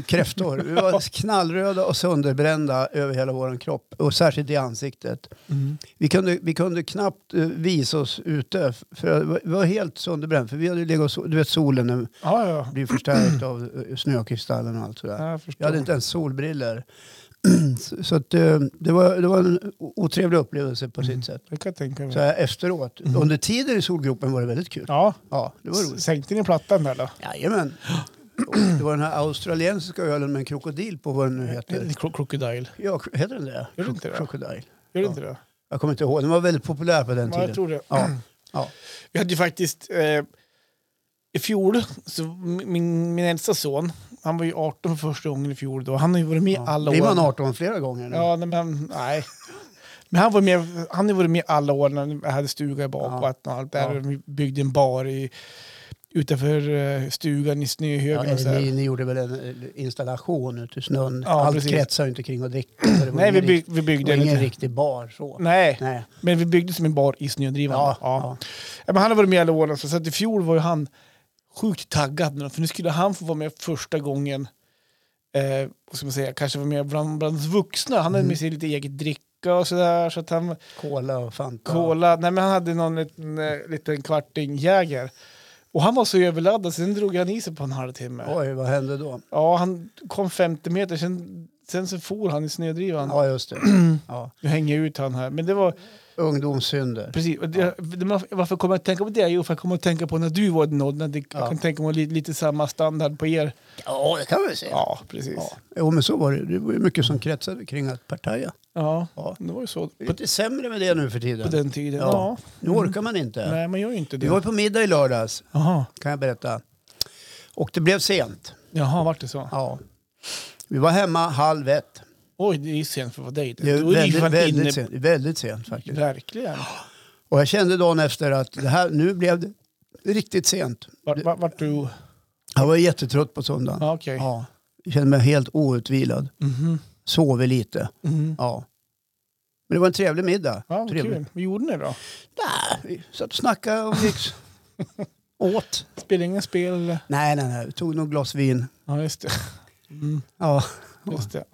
Speaker 1: kräftor. Vi var knallröda och sönderbrända över hela vår kropp och särskilt i ansiktet.
Speaker 2: Mm-hmm.
Speaker 1: Vi kunde, vi kunde knappt eh, visa oss ute för vi var helt sönderbrända för vi hade legat och so- du vet solen nu
Speaker 2: Ja, ja.
Speaker 1: blir förstärkt av eh, snökristallen och allt sådär.
Speaker 2: ja jag förstår.
Speaker 1: Jag hade inte ens solbriller. Så, så att, eh, det, var, det var en o- otrevlig upplevelse på sitt sätt.
Speaker 2: Det kan jag tänka mig.
Speaker 1: Så här efteråt, under tiden i solgropen var det väldigt kul.
Speaker 2: Ja.
Speaker 1: Ja, det var roligt.
Speaker 2: Sänkte ni plattan där då?
Speaker 1: Jajamän. Och Det var den här australiensiska ölen med en krokodil på vad den nu heter.
Speaker 2: Kro- Crocodile.
Speaker 1: Ja, kro- heter den det?
Speaker 2: Gör det inte det?
Speaker 1: Krokodil.
Speaker 2: Gör det
Speaker 1: Ja.
Speaker 2: inte det?
Speaker 1: Jag kommer inte ihåg. Den var väldigt populär på den
Speaker 2: Ja, jag
Speaker 1: tiden.
Speaker 2: tror det.
Speaker 1: Ja. Ja.
Speaker 2: Vi hade ju faktiskt... Eh, I fjol, så min, min- min äldsta son, han var ju 18 för första gången i fjol då. Han har ju varit med alla år.
Speaker 1: Blir man 18 flera gånger nu?
Speaker 2: Ja, nej, men han, nej. Men han, var med, han har varit med alla år när jag hade stuga i bakvatten och allt där.
Speaker 1: Ja.
Speaker 2: Vi byggde en bar i, utanför eh, stugan i
Speaker 1: Ja,
Speaker 2: snöhögen. och så här.
Speaker 1: ni, ni gjorde väl en eh, installation ute i snön?
Speaker 2: Ja,
Speaker 1: Allt
Speaker 2: precis.
Speaker 1: kretsar ju inte kring att dricka. så det var
Speaker 2: Nej, vi,
Speaker 1: ingen
Speaker 2: byg,
Speaker 1: rikt-
Speaker 2: vi
Speaker 1: det
Speaker 2: byggde
Speaker 1: var
Speaker 2: en
Speaker 1: ingen
Speaker 2: liten-
Speaker 1: riktig bar så.
Speaker 2: Nej,
Speaker 1: Nej.
Speaker 2: men vi byggde som en bar i snödrivan.
Speaker 1: Ja,
Speaker 2: Ja,
Speaker 1: ja.
Speaker 2: Men han har varit med alla åren, så så att i fjol var ju han sjukt taggad. nu, För nu skulle han få vara med första gången, eh, vad ska man säga, kanske vara med bland, bland vuxna.
Speaker 1: Mm.
Speaker 2: Han hade med sig lite eget dricka och sådär. Så att han,
Speaker 1: Cola och Fanta.
Speaker 2: Cola. Nej, men han hade någon liten, eh, liten kvarting Jäger. Och han var så överladdad, sen drog han i sig på en halvtimme.
Speaker 1: Oj, vad hände då?
Speaker 2: Ja, han kom 50 meter, sen, sen så for han i snödrivan.
Speaker 1: Ja, just det. Ja.
Speaker 2: Nu hänger jag ut han här. Men det var...
Speaker 1: Ungdomssynder.
Speaker 2: Precis. Och det, det- man- Varför kommer jag att tänka på det? Jo, för jag kommer att tänka på när du var i den åldern. att det- Jag
Speaker 1: Ja.
Speaker 2: kan tänka mig lite, lite samma standard på er.
Speaker 1: Ja, det kan vi säga. Ja.
Speaker 2: Ja, precis. Ja,
Speaker 1: Jo, men så var det. Det var ju mycket som kretsade kring att partaja. Ja.
Speaker 2: det var ju så
Speaker 1: Det är
Speaker 2: på,
Speaker 1: lite sämre med det nu för tiden.
Speaker 2: på Mm. den tiden.
Speaker 1: Ja.
Speaker 2: Ja.
Speaker 1: Nu orkar man inte.
Speaker 2: Nej, man gör ju inte
Speaker 1: Vi var
Speaker 2: det.
Speaker 1: på middag i lördags,
Speaker 2: Jaha,
Speaker 1: kan jag berätta. Och det blev sent.
Speaker 2: Jaha vart det så?
Speaker 1: Ja. Vi var hemma halv ett.
Speaker 2: Oj, det är ju sent för att vara dig.
Speaker 1: Det är
Speaker 2: Då är ju
Speaker 1: väldigt,
Speaker 2: fan
Speaker 1: väldigt,
Speaker 2: inne-
Speaker 1: sent, väldigt sent faktiskt.
Speaker 2: Verkligen.
Speaker 1: Och jag kände dagen efter att det här, nu blev det riktigt sent.
Speaker 2: Vart, vart, vart du...
Speaker 1: Jag var jättetrött på söndagen.
Speaker 2: Ja, okej.
Speaker 1: Ja. Jag kände mig helt outvilad.
Speaker 2: Mhm.
Speaker 1: Sov lite.
Speaker 2: Mhm.
Speaker 1: Ja. Men det var en trevlig middag.
Speaker 2: Ja, vad
Speaker 1: trevlig.
Speaker 2: kul. Vad gjorde ni då?
Speaker 1: Nej, vi satt och snackade och gick åt.
Speaker 2: Spelade inga spel? eller?
Speaker 1: Nej, nej, nej. Vi tog något glas vin.
Speaker 2: Ja, just det. Mm,
Speaker 1: Ja,
Speaker 2: just det.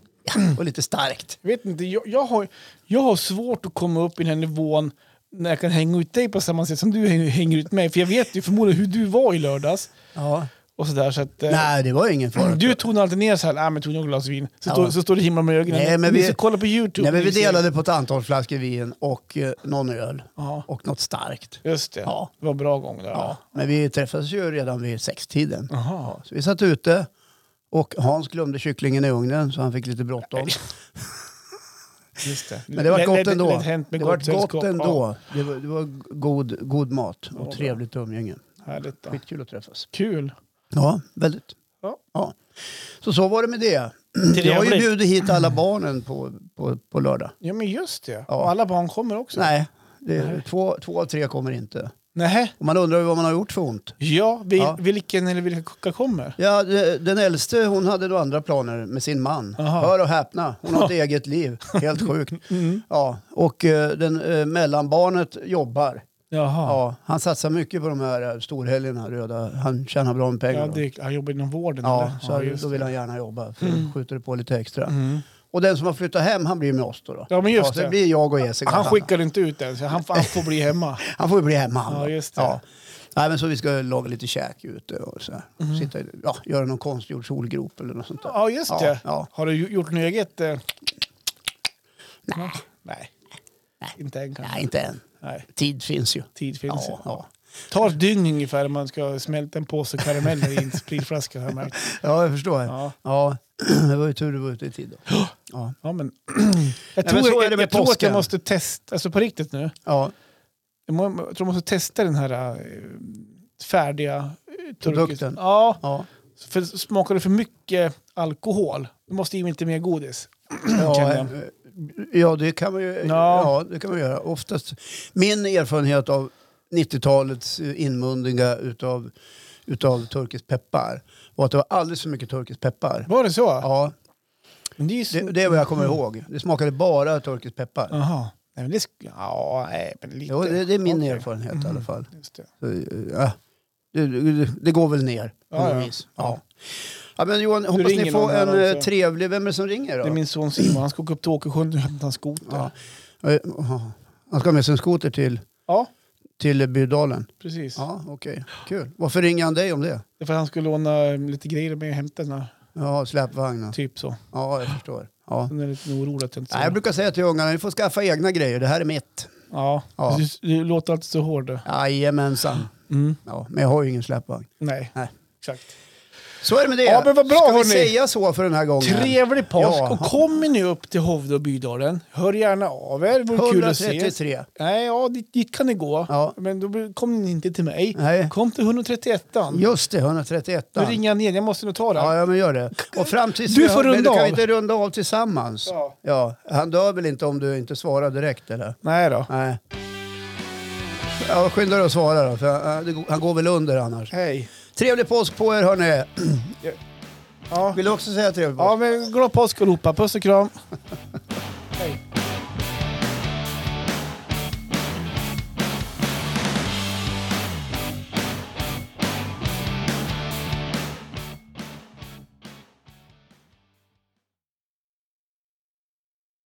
Speaker 1: och lite starkt.
Speaker 2: Jag vet inte, jag, jag, har, jag har svårt att komma upp i den här nivån när jag kan hänga ut dig på samma sätt som du häng- hänger ut mig. För jag vet ju förmodligen hur du var i lördags.
Speaker 1: Ja.
Speaker 2: Och sådär, så att, eh,
Speaker 1: Nej, det var ingen fara.
Speaker 2: Du tonar alltid ner så här, ah, men tog några glas vin. Så,
Speaker 1: Ja.
Speaker 2: står- så står det himla med ögonen.
Speaker 1: Nej, men
Speaker 2: Ni
Speaker 1: vi-
Speaker 2: ska kolla på YouTube.
Speaker 1: Nej, men vi
Speaker 2: Ni ser-
Speaker 1: delade på ett antal flaskor vin och eh, någon öl.
Speaker 2: Ja,
Speaker 1: Och något starkt.
Speaker 2: just det.
Speaker 1: Ja.
Speaker 2: Det var en bra gång där.
Speaker 1: Ja. Men vi träffades ju redan vid sextiden.
Speaker 2: Aha.
Speaker 1: Så vi satt ute och Hans glömde kycklingen i ugnen så han fick lite bråttom.
Speaker 2: Just det.
Speaker 1: Men det var
Speaker 2: Lä-
Speaker 1: gott
Speaker 2: lä-
Speaker 1: ändå.
Speaker 2: lätt hänt med
Speaker 1: det var
Speaker 2: gott sällskap.
Speaker 1: gott ändå. Det var, det var god, god mat och
Speaker 2: bra.
Speaker 1: trevligt umgänge.
Speaker 2: Ja, härligt då.
Speaker 1: Skitkul att träffas.
Speaker 2: Kul.
Speaker 1: Ja, väldigt.
Speaker 2: Ja.
Speaker 1: Ja. Så så var det med det. Jag har ju
Speaker 2: Trevligt.
Speaker 1: bjudit hit alla barnen på, på, på lördag.
Speaker 2: Ja, men just det.
Speaker 1: Ja.
Speaker 2: Och alla barn kommer också.
Speaker 1: Nej, det,
Speaker 2: Nej.
Speaker 1: Två, två av tre kommer inte.
Speaker 2: Nähä.
Speaker 1: Och man undrar ju vad man har gjort för ont.
Speaker 2: Ja, vi,
Speaker 1: Ja.
Speaker 2: vilken eller vilka kockar kommer?
Speaker 1: Ja, de- den äldste hon hade då andra planer med sin man.
Speaker 2: Aha.
Speaker 1: Hör och häpna, hon har ett eget liv. Helt sjukt. Ja, och eh, den, eh, mellanbarnet jobbar.
Speaker 2: Jaha.
Speaker 1: Ja, han satsar mycket på de här eh, storhelgerna, röda. Han tjänar bra med
Speaker 2: Ja,
Speaker 1: pengar. då.
Speaker 2: det, han jobbar inom vården?
Speaker 1: ja
Speaker 2: eller?
Speaker 1: så
Speaker 2: just
Speaker 1: då vill
Speaker 2: det.
Speaker 1: han gärna jobba. För då skjuter det på lite extra.
Speaker 2: Mm.
Speaker 1: Och den som har flyttat hem, han blir med oss då. då.
Speaker 2: Ja, men just
Speaker 1: så
Speaker 2: det.
Speaker 1: det blir jag och Jessica.
Speaker 2: Han skickar inte ut den, så han, han får bli hemma.
Speaker 1: han får ju bli hemma. Han,
Speaker 2: Ja,
Speaker 1: då.
Speaker 2: just det.
Speaker 1: Ja. Nej, men så vi ska laga lite käk ute och så här. Sitta, i- ja, göra någon konstgjord solgrop eller något sånt där.
Speaker 2: Mm. Ja, just det.
Speaker 1: ja.
Speaker 2: Har du ju- gjort något eget? Eh... Nej. Nej. Inte än kanske?
Speaker 1: Nej, inte än.
Speaker 2: Nej.
Speaker 1: Tid finns ju.
Speaker 2: Tid finns
Speaker 1: ja,
Speaker 2: ju.
Speaker 1: ja.
Speaker 2: tar ett dygn ungefär om man ska smälta en påse karameller i en spritflaska. har jag märkt.
Speaker 1: ja, jag förstår. Ja.
Speaker 2: Ja.
Speaker 1: det var ju tur du var ute i tid då. Ja.
Speaker 2: Ja, men...
Speaker 1: men
Speaker 2: Jag tror,
Speaker 1: så är det
Speaker 2: jag,
Speaker 1: med
Speaker 2: jag tror att
Speaker 1: påsken.
Speaker 2: jag måste testa, alltså på riktigt nu,
Speaker 1: Ja.
Speaker 2: jag må- jag tror jag måste testa den här eh, färdiga eh,
Speaker 1: Produkten.
Speaker 2: turkis- Ja,
Speaker 1: Ja.
Speaker 2: för smakar det för mycket alkohol, då måste jag ge mig lite mer godis.
Speaker 1: Ja,
Speaker 2: känner jag.
Speaker 1: eh, ja, det kan man ju ja.
Speaker 2: Ja.
Speaker 1: det kan man göra. Oftast, min erfarenhet av 90-talets eh, inmundingar utav, utav turkisk peppar var att det var alldeles för mycket turkisk peppar.
Speaker 2: Var det så?
Speaker 1: Ja,
Speaker 2: Men det är ju så...
Speaker 1: det, det är vad jag kommer
Speaker 2: Mm.
Speaker 1: ihåg. Det smakade bara turkisk peppar.
Speaker 2: Aha. Nej, men det sk... Ja, nej, men lite.
Speaker 1: Jo, det, det är min
Speaker 2: Okej. Mm.
Speaker 1: erfarenhet i alla fall.
Speaker 2: Just det.
Speaker 1: Så, eh, ja. det, det, det går väl ner på
Speaker 2: Ja,
Speaker 1: något
Speaker 2: ja.
Speaker 1: vis. Ja. Ja, men Johan, hoppas ni
Speaker 2: ringer
Speaker 1: får
Speaker 2: någon här
Speaker 1: en eh,
Speaker 2: alltså.
Speaker 1: trevlig... Vem är det som ringer då?
Speaker 2: det är min son Simon, han ska åka upp till Åkersjön och hämta en skoter.
Speaker 1: ja.
Speaker 2: Ja,
Speaker 1: Eh, aha. Han ska ha med sig en skoter till... Till Bydalen?
Speaker 2: precis.
Speaker 1: Ja, okej. Kul. Varför ringer han dig om det?
Speaker 2: Det är för att han skulle låna eh, lite grejer med och hämta den här.
Speaker 1: Ja, släpvagnen.
Speaker 2: Typ så.
Speaker 1: Ja, jag förstår. Ja.
Speaker 2: Han är lite orolig att jag inte
Speaker 1: Nej, jag brukar säga till ungarna, ni får skaffa egna grejer. Det här är mitt.
Speaker 2: Ja,
Speaker 1: Ja.
Speaker 2: Du, du låter alltid så hård. du.
Speaker 1: Jajamensan.
Speaker 2: Mm.
Speaker 1: Ja, men jag har ju ingen släpvagn.
Speaker 2: Nej.
Speaker 1: Nej.
Speaker 2: exakt.
Speaker 1: Så är det med det.
Speaker 2: Ja, men vad bra,
Speaker 1: Ska vi
Speaker 2: hörni.
Speaker 1: säga så för den här gången?
Speaker 2: Trevlig påsk
Speaker 1: Ja.
Speaker 2: och kommer ni upp till Hovde och Bydalen, hör gärna av er. Det vore kul att ses.
Speaker 1: 133.
Speaker 2: Nej, ja, dit, dit kan ni gå.
Speaker 1: Ja.
Speaker 2: Men då blir- kom ni inte till mig.
Speaker 1: Nej.
Speaker 2: Kom till 131.
Speaker 1: Just det, 131.
Speaker 2: Nu ringer jag ner, jag måste nog ta den.
Speaker 1: Ja, ja, men gör det. Och fram tills
Speaker 2: Du
Speaker 1: vi-
Speaker 2: får
Speaker 1: men
Speaker 2: runda
Speaker 1: du kan
Speaker 2: av.
Speaker 1: vi inte runda av tillsammans?
Speaker 2: Ja.
Speaker 1: ja. Han dör väl inte om du inte svarar direkt, eller?
Speaker 2: Nej då.
Speaker 1: Nej. Ja, skynda dig att svara då, för eh, det går- han går väl under annars.
Speaker 2: Hej.
Speaker 1: Trevlig påsk på er hörni!
Speaker 2: Ja.
Speaker 1: Vill du också säga trevlig påsk?
Speaker 2: ja, men glad påsk allihopa. Puss och kram.